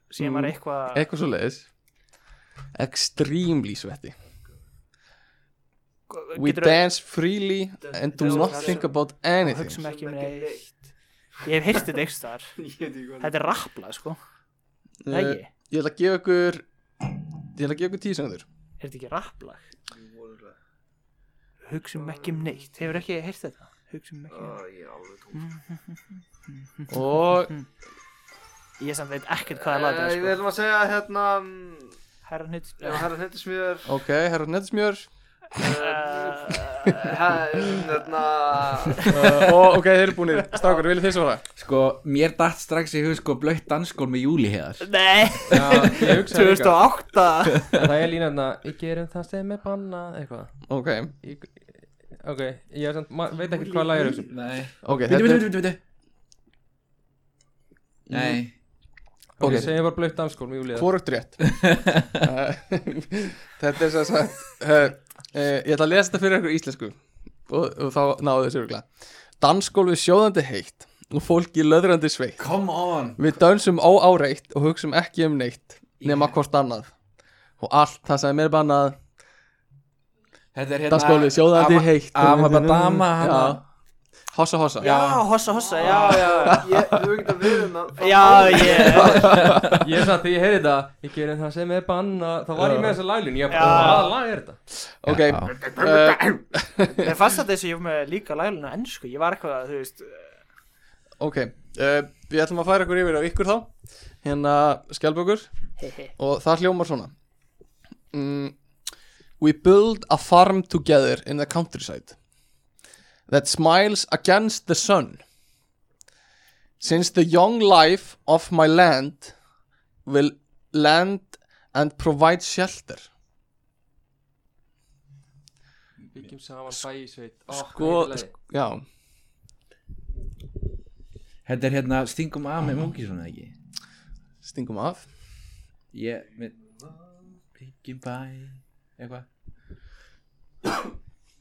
S4: Síðan
S1: Mm.
S4: var eitthvað
S1: Eitthvað svo leiðis Extremely sweaty We
S4: geturðu-
S1: dance freely And do not think about anything
S4: hugsa mig ekki um
S5: Sem ekki
S4: neitt ég hef heyrst þetta eitthvað þar
S5: Ég veit ekki hvað
S4: þetta er rappla sko
S1: Eh,
S4: Nei, ég-
S1: Ég ætla að gefa ykkur Ég ætla að gefa ykkur tíu sekundur
S4: er þetta ekki rappla
S5: Vonulega.
S4: hugsa mig ekki um neitt hefur ekki heyrst þetta hugsa mig ekki um
S5: Æ, Ég er alveg tómt
S1: Og
S4: neitt ég samt veit ekkert hvað er laga
S5: Eh, Við
S4: sko.
S5: ætlum að segja hérna mm,
S4: herran hitt
S5: Ef það er þetta smjör eh,
S1: ok, herra nettismjör
S5: Hérna
S1: uh, Og ok, þeir eru búinir Strákur, viljið þið svara?
S2: Sko, mér datt strax í hug sko blöitt danskól með júli heðar
S4: nei
S3: Já, ég hugsa
S4: 2008
S3: Það er línaðna, ég gerum það sem er banna eitthvað
S1: Ok,
S3: Ég- Ok, ég er samt, ma- veit ekki hvað lag er hugsa
S2: Nei
S1: ok, þetta er
S2: Veitum, veitum, veitum, veitum Nei
S3: Ok,
S1: Ok.
S3: segjum bara blöitt danskólum í júlið
S1: Hvorugt rétt Eh, Þetta er sem sagt uh, Ég ætla að lesa þetta fyrir ykkur í íslensku og, og þá náðu þessu örgulega Dansgólfi sjóðandi heitt og fólki löðrandi sveitt
S2: Come on
S1: Við dönsum óáreitt og hugsum ekki um neitt nema hvort annað og allt það sem er bannað
S2: Þetta er hérna
S1: Dansgólfið, sjóðandi
S2: Ama-
S1: heitt.
S2: Amabadama hana.
S1: Já Hossa hossa
S2: Já.
S4: hossa, hossa,
S5: Já, já, ég, þú getur að við um að
S4: Já, ég
S3: Ég satt því, ég heyri þetta Ég gerir það sem er banna Þá var ég með þessa laglun Ég bara,
S4: Já.
S3: hvaða lag er þetta?
S1: Ok
S2: Já.
S1: uh,
S4: Mér fannst þetta þess að ég var með líka læluna ennsku Ég var eitthvað, þú veist
S1: Ok uh, Við ætlum að færa ykkur yfir á ykkur þá Hérna skjálpökur
S4: hehe.
S1: Og það hljómar svona mm, We build a farm together in the countryside That smiles against the sun Since the young life of my land Will land and provide shelter
S3: Byggjum saman bæisveit
S1: Sko, já
S2: Þetta er hérna Stingum að með múki svona ekki
S1: Stingum af
S2: Ég með Byggjum bæ Eitthvað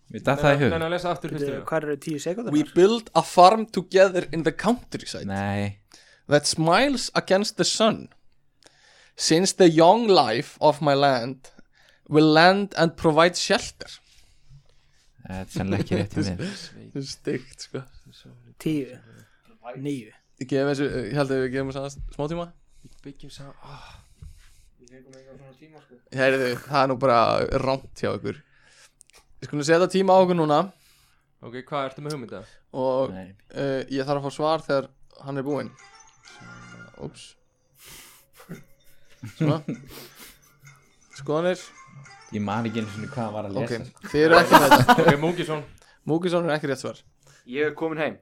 S2: Mér datt það í hug
S3: Nei, að lesa aftur fyrstu
S4: Hvað eh, eru tíu sekundar?
S1: We build a farm together in the countryside
S2: Nei
S1: that smiles against the sun. Since the young life of my land will land and provide shelter.
S2: Þetta er sennilega ekki rétt hjá mér
S1: Það er stygt, sko.
S4: Tíu Níu
S1: Ég, gefum þessu, ég held að við gefum þess að smá tíma.
S3: Byggjum saman ah,
S1: Heyrðu, það er nú bara rámt hjá ykkur. Ég skulum setja tíma á okkur núna
S3: Ok, hvað ertu með hugmynda?
S1: og uh,
S2: Nei
S1: ég þarf að fá svar þegar hann er búinn. Úps. Svona. Skoðanir.
S2: Ég man ekki einu sinni hvað var að
S1: Ok,
S2: lesa
S1: þið eru ekki með þetta.
S3: Ok, Mungisson
S1: Múkisson er ekki rétt svar.
S5: Ég er komin heim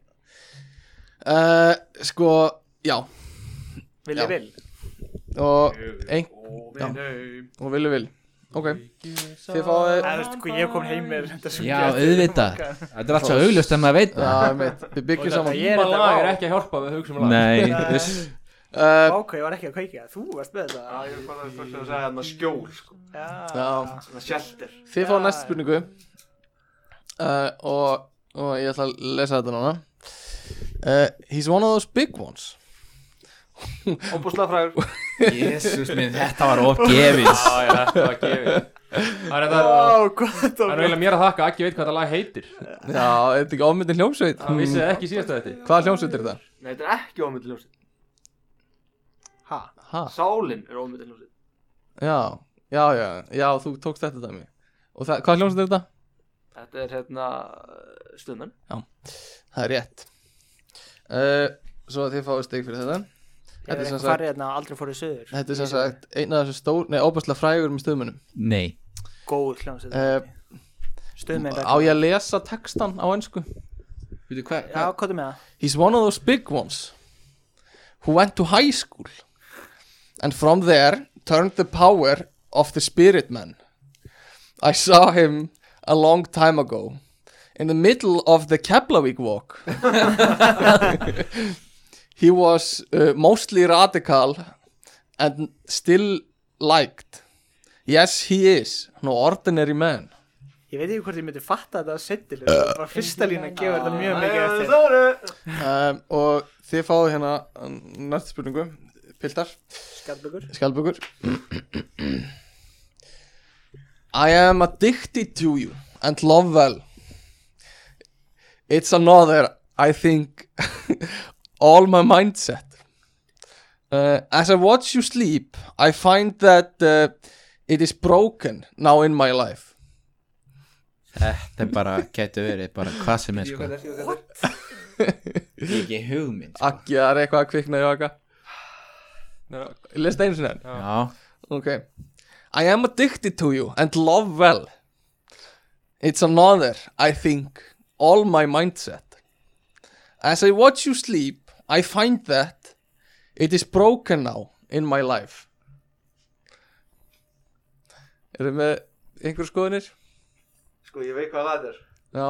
S1: Uh, sko, já,
S4: Vil
S1: Já.
S4: ég vil?
S1: og ein, já.
S5: heim
S1: og vilju vil ok,
S3: Þið
S1: þið fáið
S4: Það veist hvað ég kom heim með þetta sem
S2: Já,
S4: gerðist.
S2: auðvitað Þetta er allt svo augljóst en maður veit það
S1: já, mitt, við byggjum saman
S4: ég er
S3: Tíma
S4: þetta
S3: lag
S4: vá.
S3: er ekki að hjálpa við hugsa um lag
S2: Nei
S4: Nei.
S2: þess-
S1: uh,
S4: Vá, hvað ég var ekki að kveikja Þú varst með
S5: Já,
S4: þetta
S5: ég fann að fyrst að segja þarna skjól, sko
S1: já,
S5: Svona shelter
S1: þið fáið næstu spurningu uh, og, og ég ætla að lesa þetta núna uh, he's one of those big ones
S5: Og búslega frægur
S2: Jesús minn, þetta var ofgefis
S3: Já, já, þetta var gefið Það er þetta
S4: Vá, hvað þetta
S3: Það er
S4: var
S3: eiginlega mér að þakka að ekki veit hvað það lag heitir
S1: já, er þetta ekki ofmyndin hljómsveit
S4: Mm.
S3: Það vissi það ekki síðast að þetta
S1: hvaða hljómsveit er þetta?
S5: Nei, þetta er ekki ómyndil ljósið
S4: Ha,
S1: Ha,
S5: Sálin er ómyndil ljósið
S1: já, já, já, já, þú tókst þetta dæmi og það, hvaða hljómsveit er þetta?
S5: Þetta er hérna Stunnan
S1: það er rétt uh, svo að þið fáið stig fyrir þetta
S4: ég
S1: Þetta
S4: er
S1: er sem
S4: eitthvað
S1: sagt-
S4: farið hérna aldrei fórið söður
S1: Þetta er sem sagt eina af þessu stór, nei, óbærslega frægur með stöðmönnum.
S2: Nei
S4: Góð hljómsveit
S1: Eh,
S4: Stöðmenn
S1: Á ég að lesa textan á ennsku?
S2: Veitu hvað
S4: Já, hvað er með það?
S1: He's one of those big ones who went to high school and from there turned the power of the spirit man. I saw him a long time ago in the middle of the Keflavík walk. he was uh, mostly radical and still liked. Yes, he is, no ordinary man.
S4: Ég veit ekki hvort ég myndi fatta þetta að settilu Það var fyrsta lína að gefa þetta mjög mikið eftir
S1: um, og þið fáðu hérna nært spurningu, piltar
S4: Skjaldbökur
S1: skjálpugur I am addicted to you and love well it's another I think all my mindset uh, as I watch you sleep I find that uh, it is broken now in my life
S2: Þetta er bara, getur verið bara hvað sem er sko Ég hef ekki hugmynd sko.
S1: Akki, það er eitthvað að kvikna í okkar
S3: Nei,
S1: Lest einu sinni enn
S2: Já,
S1: Okay. I am addicted to you and love well. It's another, I think, all my mindset. As I watch you sleep, I find that it is broken now in my life. Eru með einhver skoðinir?
S5: Sko, ég veit hvað það er
S1: Já,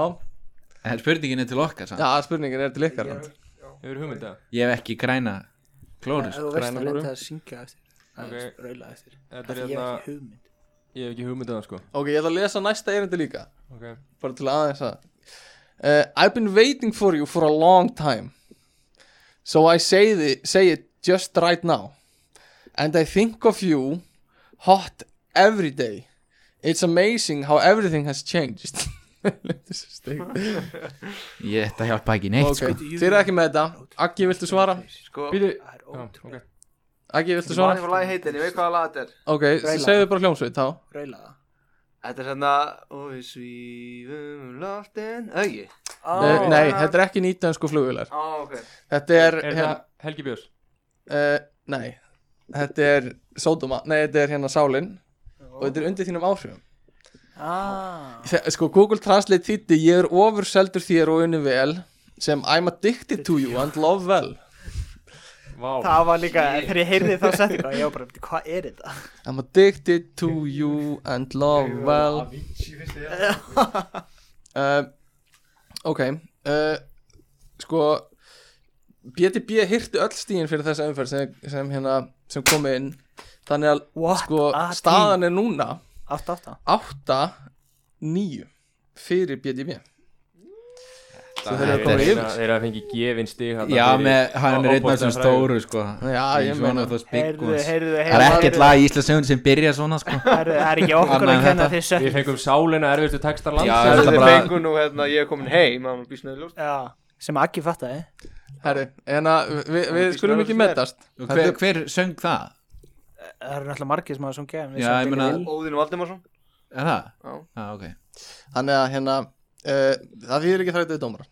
S2: en spurningin er til okkar samt
S1: já spurningin er til ykkar. samt.
S3: hefur hugmynda
S2: Ég hef ekki græna klóru sko.
S4: Þú veist
S1: græna
S4: að
S1: glóru.
S4: leta að syngja eftir Það
S3: Ok.
S4: er raula eftir
S3: Þetta
S4: Það er
S3: er
S4: ég
S3: hérna
S4: hef ekki hugmynd
S3: Ég hef ekki hugmynda það sko
S1: Ok, ég ætla að lesa næsta erindi líka.
S3: Ok
S1: bara til aðeins að uh, I've been waiting for you for a long time so I say, the, say it just right now and I think of you hot every day It's amazing how everything has changed This is steikt.
S2: Ég ætti að hjálpa ekki neitt sko.
S1: Ok, þið eru ekki með þetta Aggi, viltu svara?
S5: Sko,
S3: Býtu
S4: Það er
S3: Já,
S4: ótrúlega
S3: ok.
S1: Aggi, viltu
S5: ég man
S1: svara?
S5: ekki hvað lagi heitir, ég veit hvaða lag þetta er
S1: Ok, segðu bara hljómsveit þá
S4: Raulaða
S5: Þetta er hérna, svona Og við svífum um loftin Öggi
S1: Eh, Nei, þetta er ekki nýtdansku flugvilar
S5: Á, ok
S1: Þetta er,
S3: Er
S1: hérna,
S3: það Helgi Björns?
S1: uh, nei Þetta er Sódoma, nei, þetta er hérna Sálin Og þetta er undir þínum áhrifum
S4: Ah,
S1: Þe- Sko, Google Translate þýtti Ég er ofur seldur þér og unni vel Sem I'm addicted to you and love well
S3: Vá
S4: það var líka, þegar ég heyrði þá setjum ég var bara, "Bíddu, hvað er þetta?
S1: I'm addicted to you and love well uh, Ok uh, Sko BTB hirti öll stíin fyrir þessa umferð sem, sem, hérna, sem komi inn Þannig að
S4: What
S1: sko,
S4: a
S1: staðan er núna
S4: Átt, átt, átt
S1: 8-9 fyrir BTB
S3: Það
S1: þeir eru
S3: er- hérna-
S1: að koma
S3: þeir-
S1: yfir.
S3: Þeir eru að fengi gefin stig þarna
S2: Já,
S3: fyrir
S2: með, hann er einn af þessum
S3: ofboðslega
S2: stóru sko
S1: Já, ég
S2: Í svona
S1: meina.
S2: sko. þess big
S4: Heyrðu,
S2: ones.
S4: heyrðu, heyrðu
S2: Það er ekkert lag í Íslandsögun sem byrja svona sko
S4: Það er- það er ekki okkur að
S2: Annað en
S4: kenna
S2: þetta.
S4: þið
S3: frægum. Við
S4: sökk
S3: fengum sálina erfiðstu textar lands
S2: Já,
S5: Það
S2: þetta
S5: er
S2: bara-
S5: fengu nú hérna, ég er komin heim Það var bísnaði ljóst
S4: Já, sem Aggi fattaði
S1: Herri, en að við, við
S5: Ekki
S1: skulum
S5: snarra
S1: ekki
S5: sem
S1: metast
S2: Og
S1: Þetta
S2: hver,
S1: er-
S2: hver söng það?
S4: Það eru náttúrulega margir sem hafa sungið en við
S2: Já,
S4: sögðum
S2: ég
S4: Billy
S2: meina-
S4: Will.
S5: Óðinn Valdimarsson
S2: Er það?
S5: Já.
S2: ah, ok
S1: Þannig að hérna uh, Það þýðir ekki þrætið dómara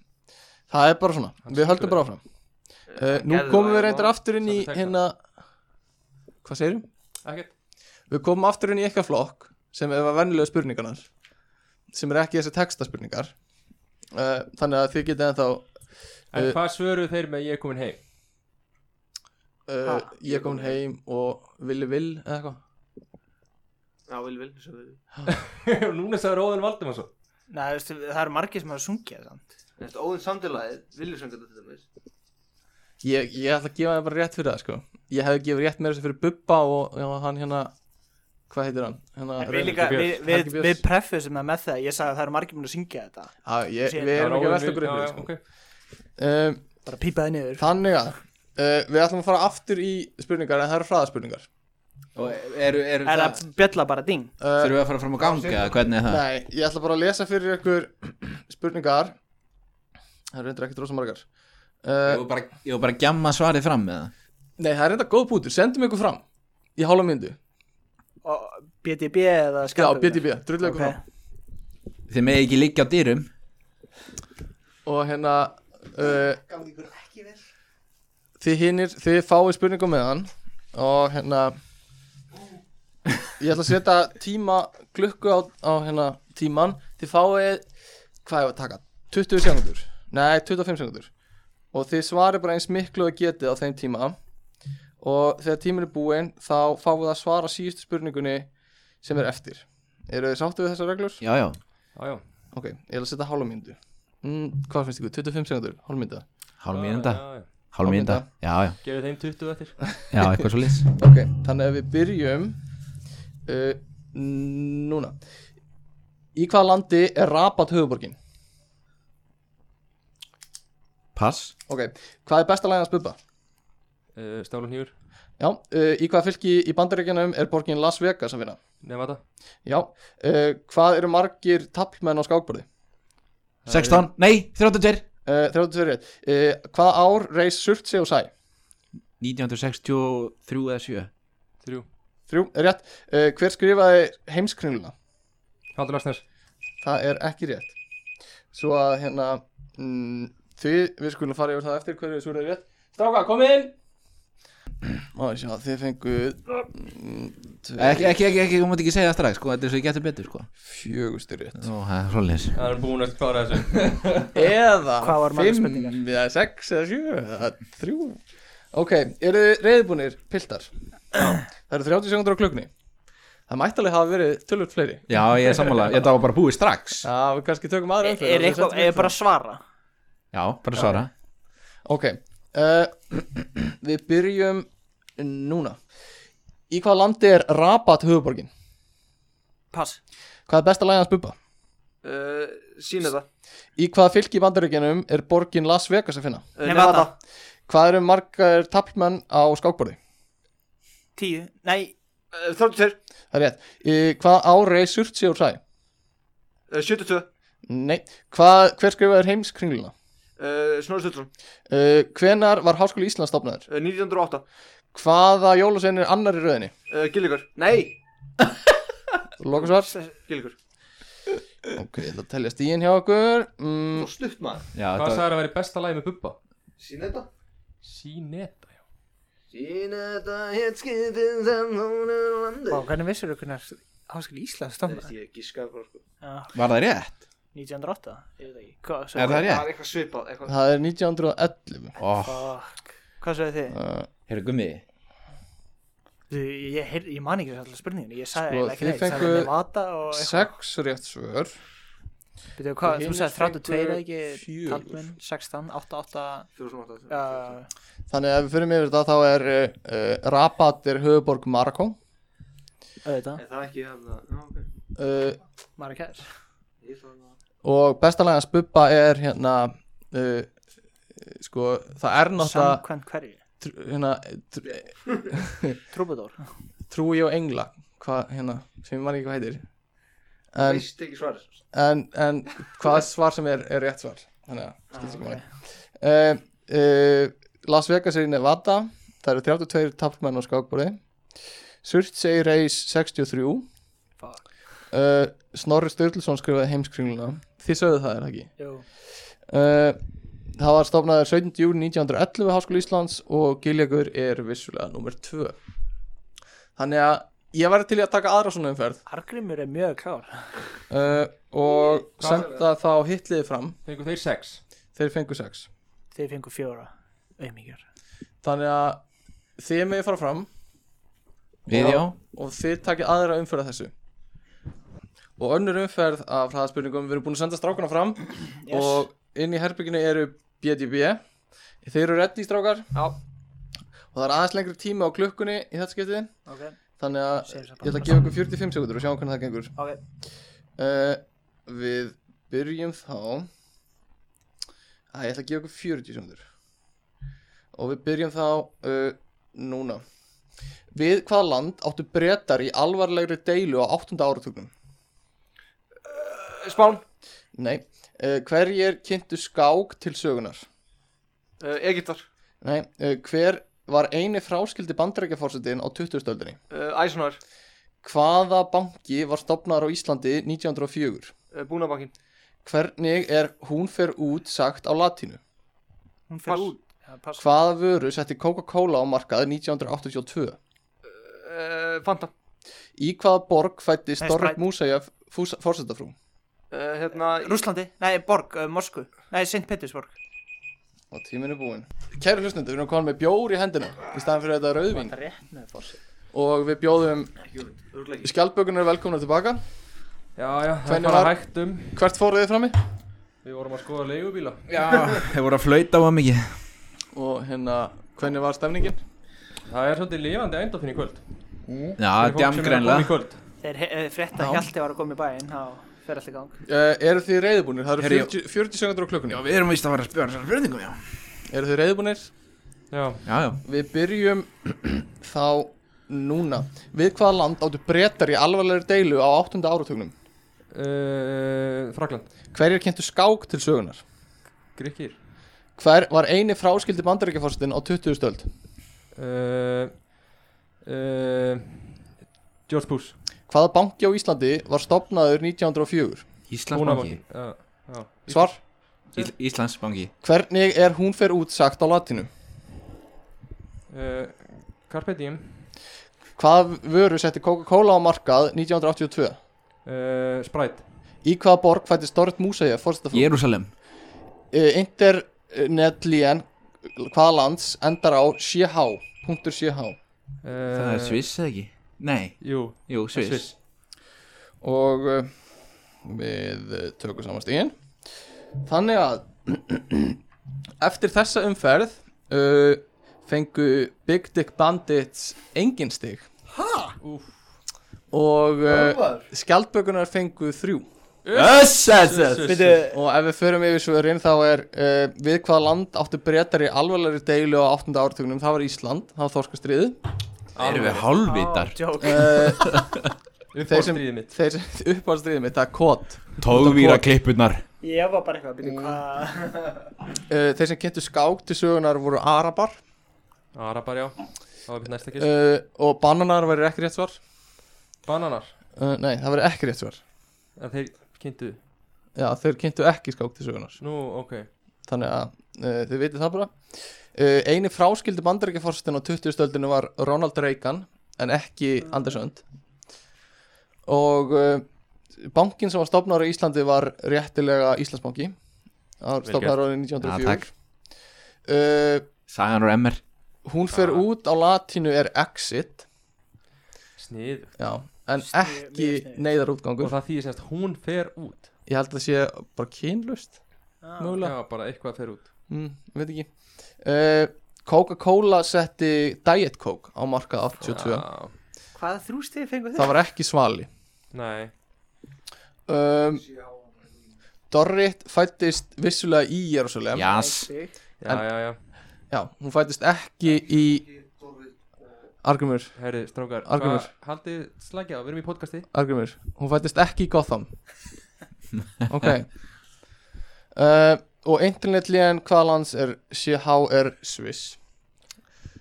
S1: Það er bara svona, við höldum bara áfram uh, Nú
S5: Gerðu
S1: komum
S5: það,
S1: við
S5: já.
S1: reyndar aftur inn í
S3: Svolítið texta.
S1: hérna Hvað segirum?
S3: Ekkert
S1: Við komum aftur inn í eitthvað flokk sem er venjulega spurningarnar sem er ekki þessi textaspurningar uh, Þannig að þið getið ennþá
S3: En
S1: Eh,
S3: hvað svöruðu þeir með ég er komin heim?
S1: uh,
S4: Ha,
S1: Ég kom heim og villi vill eða eitthvað
S5: Já, vil, vil, svo vil
S3: Núna sagði Róðan Valdimarsson
S4: Nei, þú veistu, það eru margir sem hafa sungið samt.
S5: Þetta Óðinn samtilaðið, viljum söngu þetta til dæmis
S1: Ég, ég ætla að gefa það bara rétt fyrir það sko Ég hefði gefið rétt meira þessu fyrir Bubba og já, hann hérna Hvað heitir hann? Hérna,
S4: En Við,
S1: Reynir-
S4: líka, við,
S1: Björns.
S4: við,
S1: Helgi Björns.
S4: við prefusum það með það Ég sagði að það eru margir mun að syngja þetta
S1: Já, ég,
S4: Sér.
S1: Við erum ekki að velta okkur upp
S3: Já,
S1: fyrir,
S3: já,
S1: sko.
S3: ok.
S1: um,
S4: Bara pípaði niður
S1: Þannig að uh, Við ætlum að fara aftur í spurningar En það eru fræðaspurningar
S2: Og eru, eru
S4: Er
S2: það,
S4: það bjölla bara ding?
S1: uh,
S2: þurfum við að fara fram á ganga eða hvernig er það?
S1: Nei, ég ætla bara að lesa fyrir ykkur Spurningar Það eru reyndar ekkert rosa margar
S2: Ég
S1: uh,
S2: var bara, ég var bara að gjamma svarið fram með það
S1: Nei, það er reyndar góð bútur Sendum ykkur fram Í hálfa myndu
S4: Og BDB eða
S1: Já,
S4: skapur?
S1: BDB, drullu ykkur
S4: Ok,
S2: Þið með ekki liggja á dýrum
S1: fram Og hérna uh, þið hinnir, þið fáið spurningum með hann og hérna ég ætla að setja tíma klukku á, á hérna tíman þið fáið, hvað ég var að taka 20 sekundur, nei 25 sekundur og þið svarið bara eins miklu að getið á þeim tíma og þegar tíminn er búinn þá fáið það að svara síðustu spurningunni sem er eftir eru þið sáttu við þessar reglur?
S2: Já, já,
S3: Já, já.
S1: ok, ég ætla að setja hálfa myndu mm, hvað finnst ykkur, 25 sekundur, hálfa mynda
S2: hálf mínunda
S3: Já, já, já.
S2: Hálf mínunda,
S1: mínúta.
S2: já, já,
S3: Gefið þeim 20 eftir
S2: já, eitthvað svo lýs
S1: Ok, þannig að við byrjum uh, Núna Í hvaða landi er Rabat höfuborgin?
S2: Pass
S1: Ok, hvað er besta lagið að spubba?
S3: uh, Stálun Hjúr,
S1: Já, uh, í hvaða fylki í bandaríkjanum er borgin Las Vegas að finna?
S3: Nevada
S1: Já, uh, hvað eru margir tappmenn á skákborði?
S2: 16, nei, 32
S1: Uh, 32 rétt uh, Hvaða ár reis Surtsey og Sæ?
S2: 1963 eða 7
S3: Þrjú
S1: Þrjú, rétt uh, Hver skrifaði heimskringluna?
S3: Haldur Larsnes
S1: Það er ekki rétt Svo að hérna mm, Því við skulum fara yfir það eftir hverju svo er rétt Stráka, kom inn Má ég sjá, þið fenguð mm, tvö-
S2: Ekki, ekki, ekki, ekki, þú mátt ekki segja það strax, sko, þetta er svo ég getur betur, sko
S1: Fjögustur rétt
S2: Nú, það er svo lýs
S3: Það er búin að klára þessu
S1: Eða
S4: Hvað var margar
S1: fimm,
S4: spurningar?
S1: eða sex, eða sjö, eða þrjú Ok, eru þið reyðbúnir, piltar? Það eru 30 sekundur á klukkunni Það mætti alveg hafa verið tölvöld fleiri
S2: Já, ég er sammála, ég þetta var bara búið strax
S1: Já, við kannski tökum aðra
S4: Er,
S1: umferð og
S4: er,
S1: við
S4: eitthvað,
S1: setjum
S4: er
S1: upp
S4: bara að svara?
S2: Já, bara svara
S1: Ok, uh, við byrjum núna Í hvaða landi er Rabat höfuborgin?
S4: Pass
S1: Hvað er besta lagið hans bubba?
S5: uh, Sýna þetta
S1: Í hvaða fylki í bandaríkjanum er borgin Las Vegas að finna?
S5: Uh,
S4: Nevada
S1: Hvað eru margar tappmenn á skákborði?
S4: Tíu Nei
S5: Eh, Þrjóttir,
S1: Það er rétt. Uh, hvað ári er Surtsey og Sæ?
S5: 72
S1: Nei. Hvað, hver skrifaður heimskringluna?
S5: Eh, Snorri Sturluson, Eh,
S1: Uh, hvenar var Háskóli Íslands stopnaður?
S5: 1908
S1: Hvaða jólasvein er annar í rauðinni?
S5: uh, Gilligur, nei
S1: Lokasvar?
S5: Gilligur,
S1: Ok, ég ætla að telja stíin hjá okkur. Mm,
S5: svo stutt maður
S2: Já,
S3: Hvað
S2: þetta,
S3: sagði að væri besta lagi með Bubba?
S5: Sýn þetta
S3: Sýneta, já
S5: Sýn þetta hétt skipin sem hún er á landi
S4: Vá, hvernig vissur þú hvernig háskil Ísland stofna?
S5: Ég gískaði bara sko
S2: var það rétt?
S4: 1908? Ég veit ekki. Hvað,
S2: Er það
S5: Það
S2: rétt?
S5: er eitthvað svipað, eitthvað
S1: það er 1911.
S2: Oh,
S4: Fuck. Hvað sagði þið?
S1: Uh,
S2: Herru gummi
S4: Þið- Ég, heyr, ég man ekki alltaf spurninginu, ég sagði
S1: Sko,
S4: eiginlega ekki
S1: þið
S4: neitt, ég sagði
S1: fenguð
S4: Nevada og eitthvað.
S1: sex rétt svör.
S4: Býtu, hvað,
S1: og
S4: þú
S1: hinir
S4: sagði 32 eða ekki,
S1: fengu fjögur.
S4: talminn, 16, 88,
S5: 2008
S4: uh,
S1: Þannig að ef við fyrir mig yfir þetta þá er uh, uh, Rabat er höfuborg Marakó.
S4: auðvitað,
S5: En það er ekki hann að Já, ok
S1: Uh,
S4: Marrakes.
S5: Ég ætla að-
S1: og bestalega spubba er hérna uh, sko það er náttúrulega
S4: Samkvæmt hverju?
S1: tr- hérna, tr-
S4: Trúbadór.
S1: trúi og engla hvað hérna sem ég man ekki hvað heitir en,
S5: Veist ekki svarið sko.
S1: en, en hvað svar sem er, er rétt svar þannig að skilst ekki máli uh, uh, Las Vegas er í Nevada það eru 32 tapmenn á skákbúri Surtsey Race 63 uh,
S4: Fuck.
S1: Eh, Snorri Sturluson skrifaði heimskringluna þið sögðu það er það ekki
S4: Jú.
S1: Uh, Það var stofnaður 17. júni 1911 við Háskóla Íslands og Giljagur er vissulega nummer 2 Þannig að ég væri til í að taka aðra svona umferð
S4: Argrimur er mjög klár.
S1: uh, og
S3: Hvað
S1: senda þá hitliði fram
S3: Fengu þeir sex
S1: þeir fengu 6
S4: Þeir fengu fjóra, auðmíkjur.
S1: Þannig að þið megið fara fram
S2: Við já
S1: og þið takið aðra umferð að þessu og önnur umferð af hraðaspurningum við erum búin að senda strákana fram
S4: Yes.
S1: og inn í herbygginu eru BDB þeir eru reddi strákar
S4: Já.
S1: og það er aðeins lengri tími á klukkunni í þetta skiptið
S4: Ok,
S1: þannig að
S4: Segjum það
S1: ég ætla að gefa ykkur 45 sekundur og sjá hvernig það gengur
S4: ok.
S1: uh, við byrjum þá að ég ætla að gefa ykkur 40 sekundur og við byrjum þá uh, núna við hvaða land áttu brettar í alvarlegri deilu á 8. áratugnum?
S5: Eh, Spán
S1: Nei, uh, hverjir kynntu skák til sögunar?
S5: eh, Egyptar
S1: Nei, uh, hver var eini fráskildi bandarækjaforsetin á 20. öldinni?
S5: Eh, Æsunar
S1: Hvaða banki var stopnaður á Íslandi 1904?
S5: Búnabankin
S1: Hvernig er hún fer út sagt á latínu?
S4: Hún fer
S5: Pass.
S4: út. Já, pass.
S1: Hvaða vöru setti Coca-Cola á markað 1982?
S5: Eh, Fanta
S1: Í hvaða borg fætti
S4: Nei,
S1: Storrik
S4: Sprite.
S1: Músæja fórsetafrú?
S5: Eh, Hérna
S4: Rúslandi, nei, borg, uh, Moskvu, nei, St. Petersburg.
S1: Og tíminn er búinn. Kæru hlustendur, við erum komin með bjór í hendina í staðan fyrir þetta rauðvín
S4: Rétt með fórsett.
S1: og við bjóðum
S5: Rúgleiki
S1: skjaldbökunar velkomna tilbaka.
S3: Já, já, það
S1: Hvernig
S3: fara
S1: var-
S3: hægt um
S1: Hvert fóruð þið frammi?
S3: Við vorum að skoða leigubíla
S2: Þeir voru að flauta á mikið
S1: Og hérna, hvernig var stemningin?
S3: Það er svolítið lifandi endofinn í kvöld
S2: Já,
S3: Fyrir fólk sem er að koma í
S2: djamgreinlega
S3: kvöld.
S4: Þeir eh, frétta hjalti var að koma í bæinn, þá fer allt í gang.
S1: Uh, eru þið reyðbúnir? Það eru
S2: Herri,
S1: 40, 40 sekundur á klukkunni.
S2: við erum vist að fara að spjóra þessar spurningum, já
S1: Eru þið reyðbúnir?
S3: Já,
S2: Já, já
S1: Við byrjum þá núna. Við hvaða land áttu brettar í alvarlegri deilu á 8. áratugnum?
S3: uh, Frakland
S1: Hverjir kynntu skák til sögunar?
S3: Grikkir
S1: Hver var eini fráskildi bandaríkjaforsetin á 20. stöld?
S3: uh, uh, George Bush
S1: Hvaða banki á Íslandi var stopnaður 1904?
S2: Íslandsbanki
S3: Búnaðarbanki. Já, já.
S1: Svar?
S2: Ísl- Íslandsbanki
S1: Hvernig er hún fer út sagt á latinu?
S3: Eh, Carpe Diem
S1: Hvaða vöru setti Coca-Cola á markað 1982?
S3: uh, Sprite
S1: Í hvaða borg fætti Storit Músæja forsetafrú?
S2: Jérúsalem
S1: Yep. Internetlíen hvaða lands endar á CH? Punktur CH?
S3: uh,
S2: Það er Sviss eða ekki? Nei,
S3: Jú,
S2: jú,
S3: Sviss,
S2: Sviss
S1: og uh, við uh, tökum saman stíðin þannig að eftir þessa umferð uh, fengu Big Dick Bandits engin stig
S3: Úff.
S1: og uh, skjaldbökunar fengu þrjú
S2: Öss, öss, öss
S3: Sviss, Sviss.
S1: og ef við förum yfir svörin þá er uh, við hvaða land áttu breytar í alvarlegri deilu á 8. áratugnum, það var Ísland það var þorskastriðið
S2: Erum við hálfvitar?
S4: Jók
S1: uh, þeir sem,
S3: Uppástríðið mitt
S1: þeir sem uppáðstriðið mitt, það er kod
S2: Tóðvíra klippurnar
S4: Ég var bara eitthvað að
S1: Mm.
S4: byrja hvað
S1: uh, Þeir sem kynntu skák til sögunar voru arabar
S3: Arabar, já Það var mitt næsta kist
S1: uh, og bananar verður ekki rétt svar
S3: Bananar
S1: uh, Nei, það verður ekki rétt svar
S3: En þeir kynntu
S1: Já, þeir kynntu ekki skák til sögunar
S3: Nú, ok
S1: Þannig að uh, þið vitið það bara uh, Einu fráskildi bandaríkjaforstin á 20. stöldinu var Ronald Reagan en ekki Andersönd og uh, bankin sem var stopnar í Íslandi var réttilega Íslandsbanki það var
S3: Vel
S1: stopnar árið
S2: Ja, takk.
S1: 1904 uh,
S2: Sagan og emmer
S1: Hún fer
S3: Ah.
S1: út á latinu er exit
S3: Snið
S1: já, en
S4: Sniðug,
S1: ekki
S4: mjög sniðug.
S1: neyðarútgangur
S3: Og það þýðir semst hún fer út
S1: Ég held að það sé bara kynlust
S4: ah,
S1: Mögulega,
S3: Já, bara eitthvað fer út
S1: mm, veit ekki uh, Coca-Cola setti Diet Coke á markað 82
S3: Já,
S4: Hvaða þrústegi fengur þið?
S1: Það var ekki svali
S3: Nei
S1: um, Dorrit fættist vissulega í Jerusalem
S2: Jas
S3: Já,
S1: En-
S3: já, já
S1: Já, hún fættist ekki í Argrymur,
S3: Herri, strákar
S1: Arngrímur.
S3: hvað- Haldið slagja á, við erum í podcasti
S1: Argrymur Hún fættist ekki í Gotham Ok uh, Og internetlíðan hvaða lands er CHR Swiss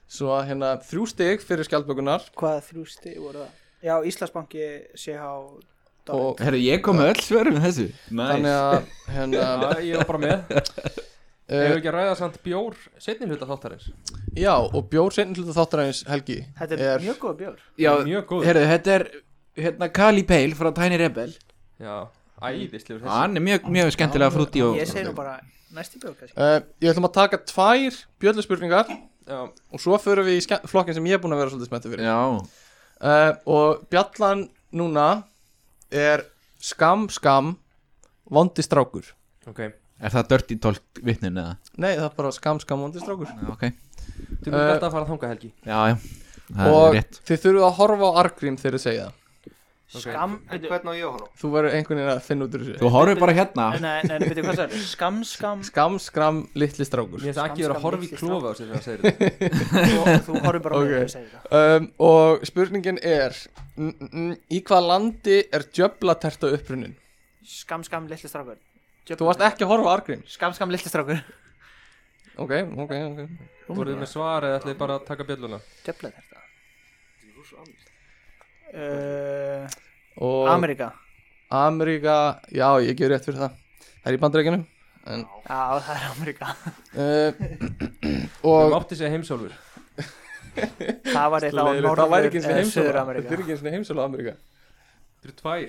S1: Svo að hérna þrjú stig fyrir skjaldbökunar
S4: Hvaða þrústegi voru það? Já, Íslandsbanki CH
S1: og
S2: Herru, ég kom með öll svörum með þessu
S1: þannig að hérna,
S3: Já, ég er bara með
S2: Eh.
S3: Hefur
S1: uh,
S3: ekki að ræða samt bjór Setni hluta þáttarins
S1: Já, og bjór seinni hluta þáttaræðins Helgi
S4: Þetta er, mjög góð bjór
S2: Já,
S3: Mjög góð
S2: herru, þetta er hérna Kali Pale frá Tiny Rebel
S3: Já, æðislegur þessi
S2: Hann er mjög, mjög skemmtilega frúti og
S4: Ég segi nú bara næsti bjór kannski
S1: uh, Ég ætlum að taka tvær bjölluspurningar
S3: Já,
S1: og svo förum við í ske- flokkin sem ég er búin að vera svolítið smettu fyrir
S2: Já,
S1: uh, og bjallan núna er skam skam vondi strákur
S3: ok
S2: er það Dirty Talk vitnin eða?
S1: nei það er bara skam skam vondi strákur
S2: Já, ok
S3: Þú mér
S1: Eh,
S3: þetta að fara að þanga helgi
S2: Já, já, það
S1: og
S2: er rétt
S1: þið þurfuð að horfa á argrím þegar þið segja það
S4: Skam
S5: En
S4: byrju,
S5: hvernig á ég að horfa?
S1: þú verður einhvern veginn að finna út úr þessu
S2: Þú horfir bara hérna
S4: Nei, nei, nei, byrju, hvað sagði? Skam, skam
S1: skam skam litli
S3: Mér
S1: strákur
S3: finnst ekki vera að horfa í
S4: Skamskan
S3: klofa á sér þegar það segir þetta
S4: Þú, þú horfum bara á
S1: Ok.
S4: mig og segir það
S1: um, og spurningin er mm, mm, mm, í hvað landi er djöblaterta upprunnin
S4: Skam, skam, litli strákur
S1: þú varst ekki að horfa á argrím
S4: Skam, skam, litli strákur
S1: ok ok ok
S3: Voruð þið með svar eða ætlið þið bara að taka bjölluna
S4: Djöfla þetta Uh,
S1: og
S4: Amerika
S1: Ameríka já ég gef rétt fyrir það það er í bandreikinu en
S4: Já, það er Amerika
S1: uh,
S3: Við
S1: og
S3: mátti segja heimsálfur
S4: Það var eitthvað
S1: það
S4: á
S1: væri
S4: Norður eh,
S1: ekki eins og
S4: eða Suður
S1: heimsóla þetta
S4: Amerika
S1: er ekki eins og heimsóla Ameríka
S3: Þú eru tvær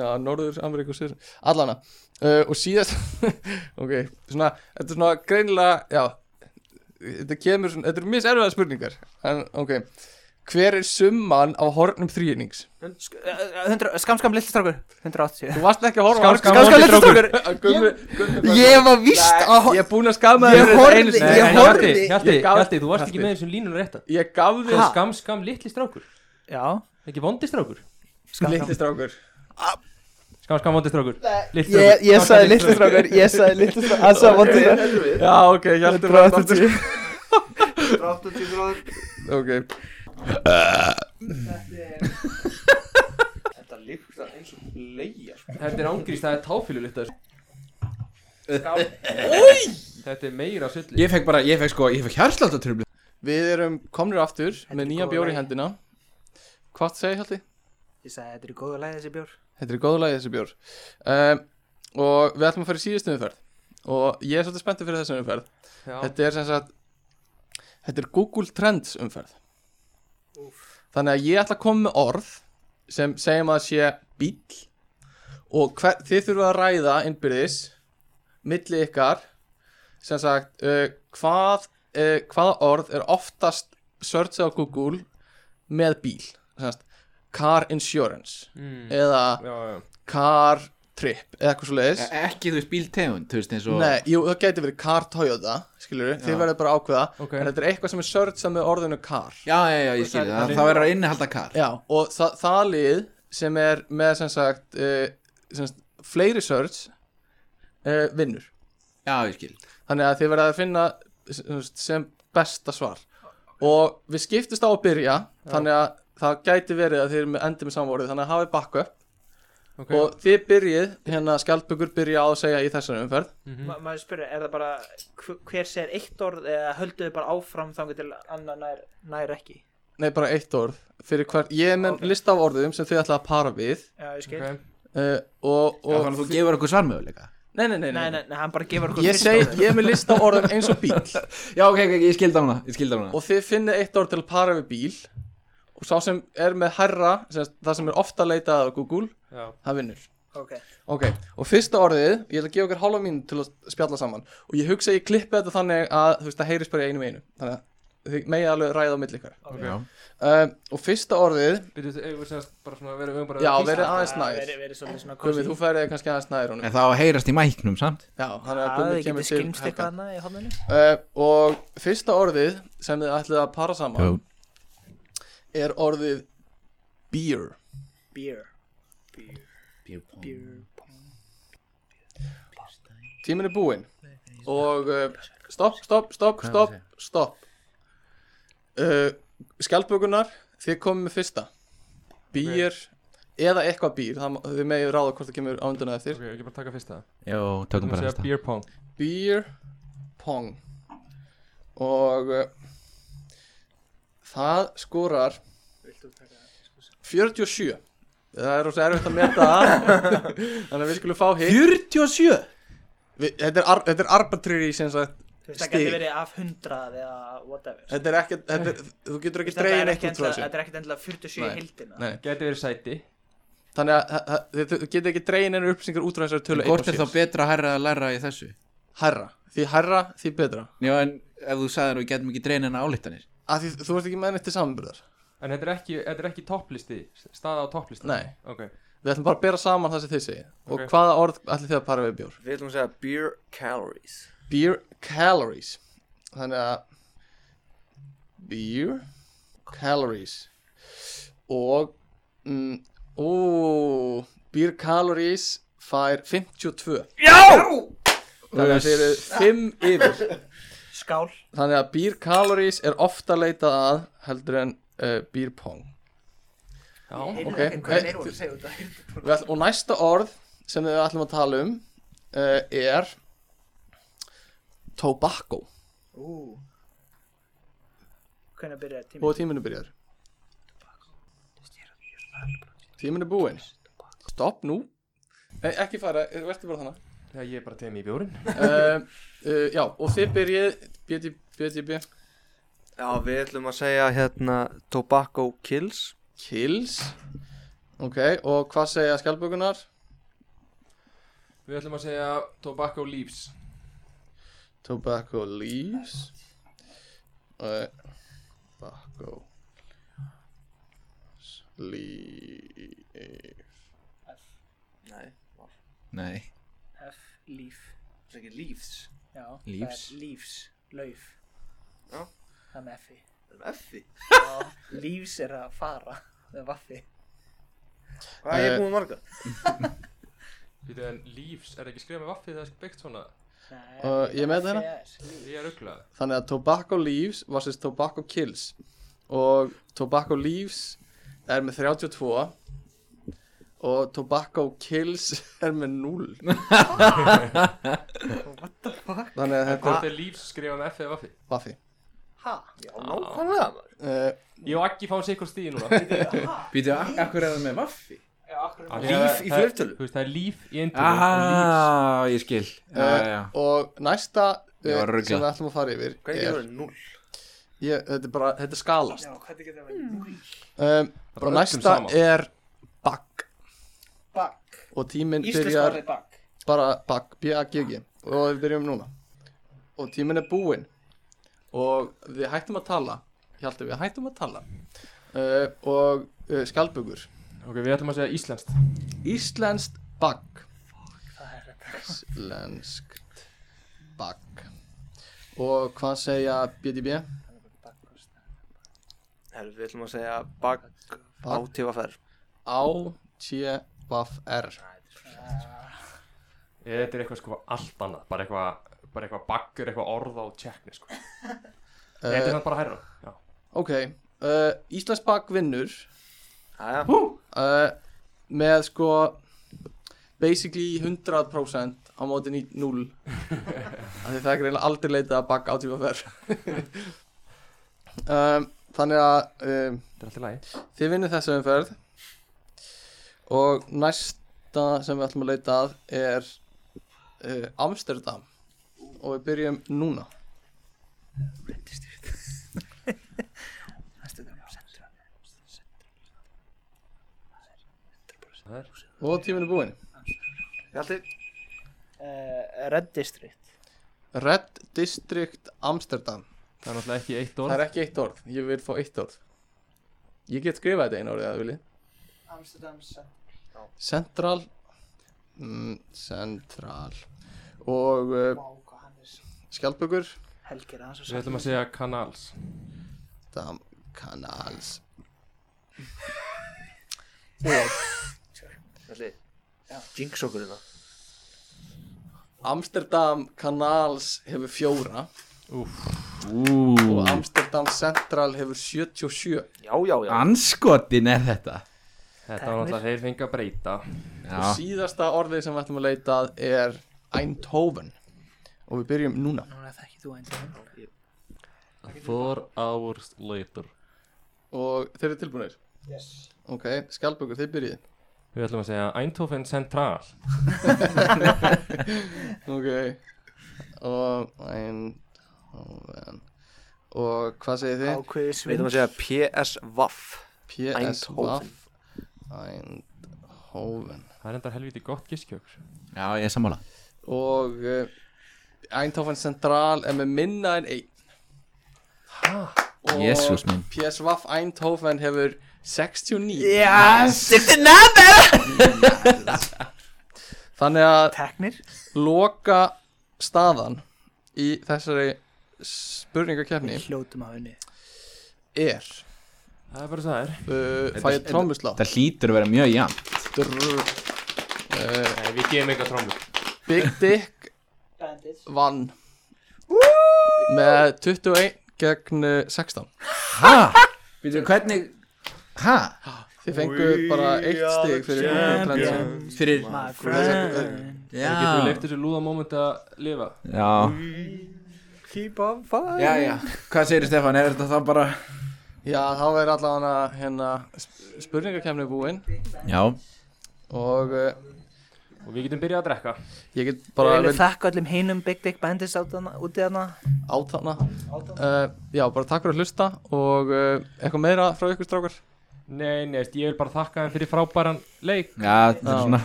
S1: já, Norður Ameríku og Suður allana uh, og síðast ok, svona, þetta er svona greinilega já, þetta kemur svona þetta eru miserfiðar spurningar en ok, hver er summan á hornum þrýnings?
S4: Sk- eh, eh, 100 Skam, skam, litli strákur 180
S1: Þú varst ekki að horfa
S3: Skam, skam,
S4: Skam, skam, litli strákur
S1: strákur
S4: Ég var víst að
S1: Ég er búin að skama
S4: Ég
S1: þér
S4: horfði-
S1: einu
S4: Nei,
S1: sinni.
S4: ég
S3: en
S4: horfði-
S3: Hjalti, Hjalti,
S1: Ég gaf-
S3: Hjalti, þú varst ekki
S1: Hjalti.
S3: með þessum línur rétta
S1: Ég gaf
S3: Þú er
S1: þér
S3: skam, skam, litli strákur
S4: Já
S3: Ekki vondi strákur
S4: skam, skam.
S1: litli strákur
S3: Skam, skam, vondi strákur Litli
S4: Ég, ég
S3: strákur. Skam,
S4: sagði
S3: skam,
S4: litli strákur Ég sagði litli strákur Það sagði vondur strákur
S1: Já, ok, hjálpum
S4: 180
S5: 80 gráður
S1: Ok,
S5: Þetta lyktar eins og leia sko.
S3: Þetta er ángrís, það er táfýlulikt Þetta er meira sulli
S2: Ég fekk bara, ég fekk sko, ég fekk hjarsláttartrubli
S1: Við erum komnir aftur með
S4: er
S1: nýja
S4: góð
S1: bjór í
S4: lagi.
S1: hendina Hvað segir Hjalti?
S4: Ég sagði þetta er í góðu læði þessi bjór
S1: Þetta er góð lagi þessi bjór um, Og við ætlum að fara í síðustu umferð Og ég er svolítið spenntið fyrir þessu umferð
S3: Já,
S1: Þetta er sem sagt Þetta er Google Trends umferð Þannig að ég ætla að koma með orð Sem segjum að sé bíl Og hver, þið þurfa að ræða innbyrðis Milli ykkar Sem sagt uh, hvað, uh, Hvaða orð er oftast Searchað á Google Með bíl Sem sagt, Car insurance
S3: Mm.
S1: Eða
S3: já, já
S1: car trip Eða eitthvað svo leiðis
S2: E- Ekki þú veist bíltegund, þú veist eins og
S1: Nei, jú, það gæti verið car Toyota, skilur við, þið verður bara að ákveða
S3: Ok.
S1: En þetta er eitthvað sem er searchað með orðinu car
S2: Já, já, já, ég skil það, það verður að innihalda kar
S1: Já, og þa það lið sem er með sem sagt, uh, sem sagt fleiri search uh, vinnur
S2: Já, ég skil
S1: Þannig að þið verður að finna sem, sagt, sem besta svar og við skiptist á að byrja þannig að það gæti verið að þeir endur með samvorið þannig að hafið backup
S3: Ok.
S1: og þið byrjið, hérna skjaldbökur byrja á að segja í þessari umferð
S3: Mhm.
S4: Ma maður spyrir, er það bara hv- hver segir eitt orð eða hölduðu bara áfram þangu til annar nær, nær ekki
S1: nei bara eitt orð fyrir hver, ég er með
S4: Ok.
S1: lista af orðum sem þið ætla að para við
S4: já, ég skil
S3: Ok.
S1: uh, og, og
S2: þannig að þú gefur okkur svarmöðuleika
S1: nei, nei, nei,
S4: nei, nei, nei, hann bara gefur okkur
S1: ég
S4: fyrst
S1: segi,
S4: orðið.
S1: ég er með lista af orðum eins og bíl
S2: Já, ok, ok, ég skildi á hana, ég skildi á hana
S1: og þið finnið eitt orð til að para við bíl og sá sem er með herra sem, það sem er ofta leitað á Google
S3: Já.
S1: það vinnur
S4: ok,
S1: Ok, og fyrsta orðið, ég ætla að gefa okkur hálfa mínu til að spjalla saman og ég hugsa að ég klippi þetta þannig að þú veist það heyrist bara í einum einu þannig að þið megið alveg ræða á milli ykkar
S4: ok,
S2: Já.
S1: um, og fyrsta orðið,
S3: Byrju, eigum við semast bara svona verið, við eigum bara
S1: já
S3: að
S1: verið
S3: kýsa.
S1: aðeins
S4: Það
S1: nær
S4: veri- verið svolítið svona
S1: Gumi,
S4: kósí.
S1: þú færið kannski aðeins nær honum
S2: En það á að heyrast í mæknum samt
S1: Já, þannig að
S4: það
S1: Gumi
S4: getur
S1: kemur til
S4: skimst eitthvað annað í hodninu
S1: uh, og fyrsta orðið sem þið ætlið að para saman
S2: Jú.
S1: er orðið beer
S4: beer beer pong.
S1: tíminn er búinn og uh, stopp, stopp, stopp, stopp, stopp uh, skjaldbökunar þið komum með fyrsta býr eða eitthvað býr það, má- þið megið ráða hvort það kemur á undan eða eftir
S3: Ok, ekki bara taka fyrst það
S2: Jó, tökum
S3: Þú
S2: bara
S3: segja
S2: þetta
S3: beer pong
S1: býr pong og uh, það skorar 47 það er rosa erfitt að meta það þannig að við skulum fá hitt
S2: 47
S1: Við- þetta er, ar- þetta er arbitrary sem sagt
S4: Þú veist, það
S1: Stig.
S4: getur verið af 100 eða whatever
S1: Þetta er ekkert, þetta er, þú getur ekki
S4: Þú veist, þetta
S1: dreigin
S4: er
S1: eitt út frá
S4: ekki endilega-
S1: þessu
S4: þetta er ekkert endilega 47 í
S1: Nei.
S4: heildina
S1: Nei.
S3: Gæti verið sæti
S1: Þannig að þa- þa- þið þið getur ekki dreigin einu upplýsingar út frá þessari tölu
S2: Hvort er
S1: eitt
S2: þá
S1: og sér.
S2: betra að herra að læra í þessu?
S1: Hærra, því hærra, því betra
S2: Já, en ef þú sagðir að við getum ekki dreina hennar álítanir
S1: að því, Þú ert ekki með neitt til samanbyrðar
S3: En þetta er ekki, þetta er ekki topplisti Staða á topplisti
S1: Nei,
S3: Ok
S1: við ætlum bara að bera saman það sem þið segir Og
S3: Ok.
S1: hvaða orð ætlum þið að para við bjór?
S5: Við ætlum að segja beer calories
S1: Beer calories Þannig að Beer calories Og mm, Ó, beer calories fær 52 Já! Þannig að þið eru 5 yfir
S4: skál
S1: Þannig að beer calories er ofta leitað að heldur en uh, beer pong
S3: Já
S1: ok.
S4: En hvernig er hún að segja út af
S1: Við ætl, Og næsta orð sem við ætlum að tala um uh, er tobacco
S4: Ú. Hvenær byrjar tími?
S1: Og tíminu byrjar Tíminu búinn Stopp nú Nei, ekki fara, eh, vertu bara þannig
S3: Já, ég er bara tegum í bjórin
S1: uh, uh, Já, og þið byrjið BTB, BTB
S5: Já, við ætlum að segja hérna tobacco kills
S1: Kills Ok, og hvað segja skjálbökunar?
S3: Við ætlum að segja tobacco leaves
S1: Tobacco leaves uh, Tobacco Leaves
S5: Nei,
S2: Nei,
S4: F, líf
S5: það er ekki leaves
S4: Já, það er
S2: Lífs.
S4: Lífs, lauf
S5: Já.
S4: Það er með effi
S5: Það er effi
S4: Já, lífs er að fara Það er vaffi
S5: Hvað er
S1: Eh,
S5: ég búin marga?
S3: Þetta er leaves, er ekki skrifað með vaffi þegar það er byggt svona
S4: Nei,
S1: Uh, ég með
S4: vaffi
S1: þeirra?
S4: er- líf.
S3: Ég er auglað
S1: Þannig að Tobacco leaves versus Tobacco kills Og Tobacco leaves er með 32 Og Tobacco kills er með 0 Þannig að þetta
S3: Hvort er leaves skrifað með f eða vaffi?
S1: er Buffy
S4: Ha?
S5: Já, nákvæmlega maður
S1: uh,
S3: Ég og ekki fáum sig ykkur stíð núna
S2: býtu, akkur er það með vaffi?
S4: Já, akkur
S3: Af því að
S5: Líf í
S3: það-
S5: fleirtölu
S3: Þú veist, það er líf í eintölu og
S2: Aha, ég skil Já, já, já
S1: eh, Og næsta
S2: Ég
S1: uh,
S2: var ruglað.
S1: sem við ætlum að fara yfir
S5: Hvað er ég
S1: er,
S5: verið? Null
S1: ég, Þetta er bara, þetta er skalast
S4: Já, hvernig getur það verið?
S1: um,
S3: Það bara
S1: Og
S3: öllum
S1: næsta
S3: sama.
S1: er Bagg
S4: Bakk
S1: Og tíminn
S4: Íslensk
S1: byrjar
S4: orðið bakk
S1: bara Bagg, B-A-G-G Og við byrjum núna Og tíminn er búinn Og við hættum að tala Hjaldi, við hættum að tala uh, Og uh, skjaldbökur
S3: leaves Ok, við ætlum að segja íslenskt
S1: Íslenskt Bagg Íslenskt Bagg Og hvað segja BDB?
S5: Herru, við ætlum að segja bag á tífafer
S1: Á T-V-R
S3: Eða Þetta er eitthvað sko allt annað Bara eitthvað, bara eitthvað baggur, eitthvað orð á tjekkni sko Nei, Þetta er samt bara hærra Já
S1: Ok, uh, Íslandsbak vinnur
S5: Jæja,
S1: uh, með sko basically 100% á móti ný- 0 af því það er reyna aldrei leitað að bak á tíma fer um, Þannig að um,
S3: þetta er alltaf lægi
S1: þið vinnur þessu umferð og næsta sem við ætlum að leita að er uh, Amsterdam og við byrjum núna
S3: það er
S1: og tíminn er búinn
S5: ég alltaf
S4: uh, Red District
S1: Red District Amsterdam
S3: það er náttúrulega ekki eitt
S1: Það
S3: orð
S1: er ekki eitt orð, ég vil fá eitt orð Ég get skrifað þetta einu orðið að vilji
S4: Amsterdams
S1: Central mm, Central Og uh,
S4: Vá, hvað hann er svo-
S1: skjaldbökur
S4: Helgir hans og
S3: við ætlum að segja kanals
S1: Dam Kanals
S5: Jinx okkur hérna
S1: Amsterdam Kanals hefur fjóra
S2: Ú,
S1: Og Amsterdam Central hefur 77
S5: Já, já, já
S2: anskotin er þetta
S3: þetta var náttúrulega þeir fengi að breyta
S1: Og
S2: Já,
S1: síðasta orðið sem við ætlum að leita að er Eindhoven Og við byrjum núna
S4: Núna þekki þú einn til
S3: four hours later
S1: Og þeir eru tilbúinir
S4: Yes
S1: Ok, skjaldbökur, þið byrjið
S3: við ætlum að segja Eindhoven Central
S1: Ok Og ein, Eindhoven Og hvað segir þið?
S4: Ákveði
S5: Við ætlum
S4: svindl
S5: að segja PS Vaff
S1: PS
S5: Eindhoven.
S1: Eindhoven
S3: það er enda helviti gott gískjöks
S2: já ég er sammála
S1: Og uh, Eindhoven Central er með minna en einn Og
S2: Jesús minn.
S1: PS Vaff Eindhoven hefur 69
S4: Yes
S1: Þannig að
S4: Teknir
S1: loka staðan í þessari spurningakefni
S4: Hljótum að unni
S1: er
S3: það er bara svo það er
S1: uh, Fæ ég trómusla
S2: Það hlýtur að vera mjög jafn
S1: Drr, uh,
S3: Nei, við gefum eitthvað trómur
S1: Big Dick
S4: Bandits
S1: vann með 21 gegn uh, 16
S2: Hæ? Býtu, hvernig Hæ?
S1: þið fengu bara eitt stig fyrir Grænlandsin
S2: Fyrir
S4: My
S1: friend.
S4: friend
S3: það getur við
S2: Já
S3: leift þessu lúða moment að lifa
S2: Já,
S4: Keep on fighting
S2: já, já Hvað segir Stefán, er þetta þá bara
S1: já þá er allavega hérna sp- spurningakefni búin
S2: Já
S1: og uh,
S3: og við getum byrjað að drekka
S1: ég get
S4: Ég
S1: bara
S4: vil
S1: vel
S4: þakka öllum hinum Big Dick Bandits át þarna- úti þarna
S1: á þarna uh, já bara takk fyrir að hlusta og uh, eitthvað meira frá ykkur strákar
S3: Nei, neist, ég vil bara þakka þeim fyrir frábæran leik
S2: Já, þetta er
S1: Já.
S2: svona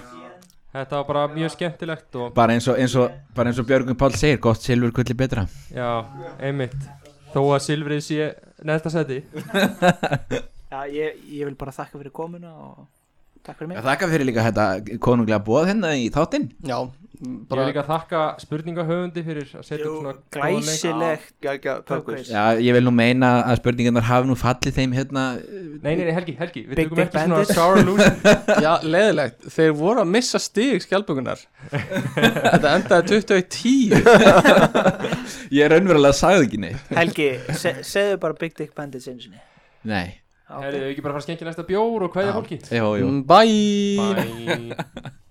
S3: Þetta var bara mjög skemmtilegt og
S2: Bara eins og, eins og, bara eins og Björgun Pál segir, gott silfur kulli betra
S3: já, einmitt Þó að Silfrið sé næsta seti
S4: Já, ég, ég vil bara þakka fyrir komuna og takk fyrir mig
S2: Já, þakka fyrir líka þetta konunglega bóð hérna í þáttinn
S1: já
S3: Ég vil
S1: bara
S3: líka þakka spurningahöfundi fyrir að setja upp svona góðan leik.
S4: glæsilegt
S5: Gægja pökkus
S4: Purpose.
S2: Já, ég vil nú meina að spurningarnar hafi nú fallið þeim hérna eh,
S3: Nei, nei, nei, Helgi, Helgi, við
S4: Big
S3: tökum
S4: Dick
S3: ekki svona
S4: Bandit.
S3: sour losing
S1: já leðilegt þeir voru að missa stig skjálpökunar þetta endaði 21-10
S2: Ég raunverulega sagði ekki neitt
S4: Helgi, se, segðu bara Big Dick Bandits einu sinni
S2: Nei,
S4: Já,
S3: Herri, við ekki bara að fara að skengja næsta bjór og hvaðið fólki
S2: jú, jú
S1: Mm, bye
S3: Bye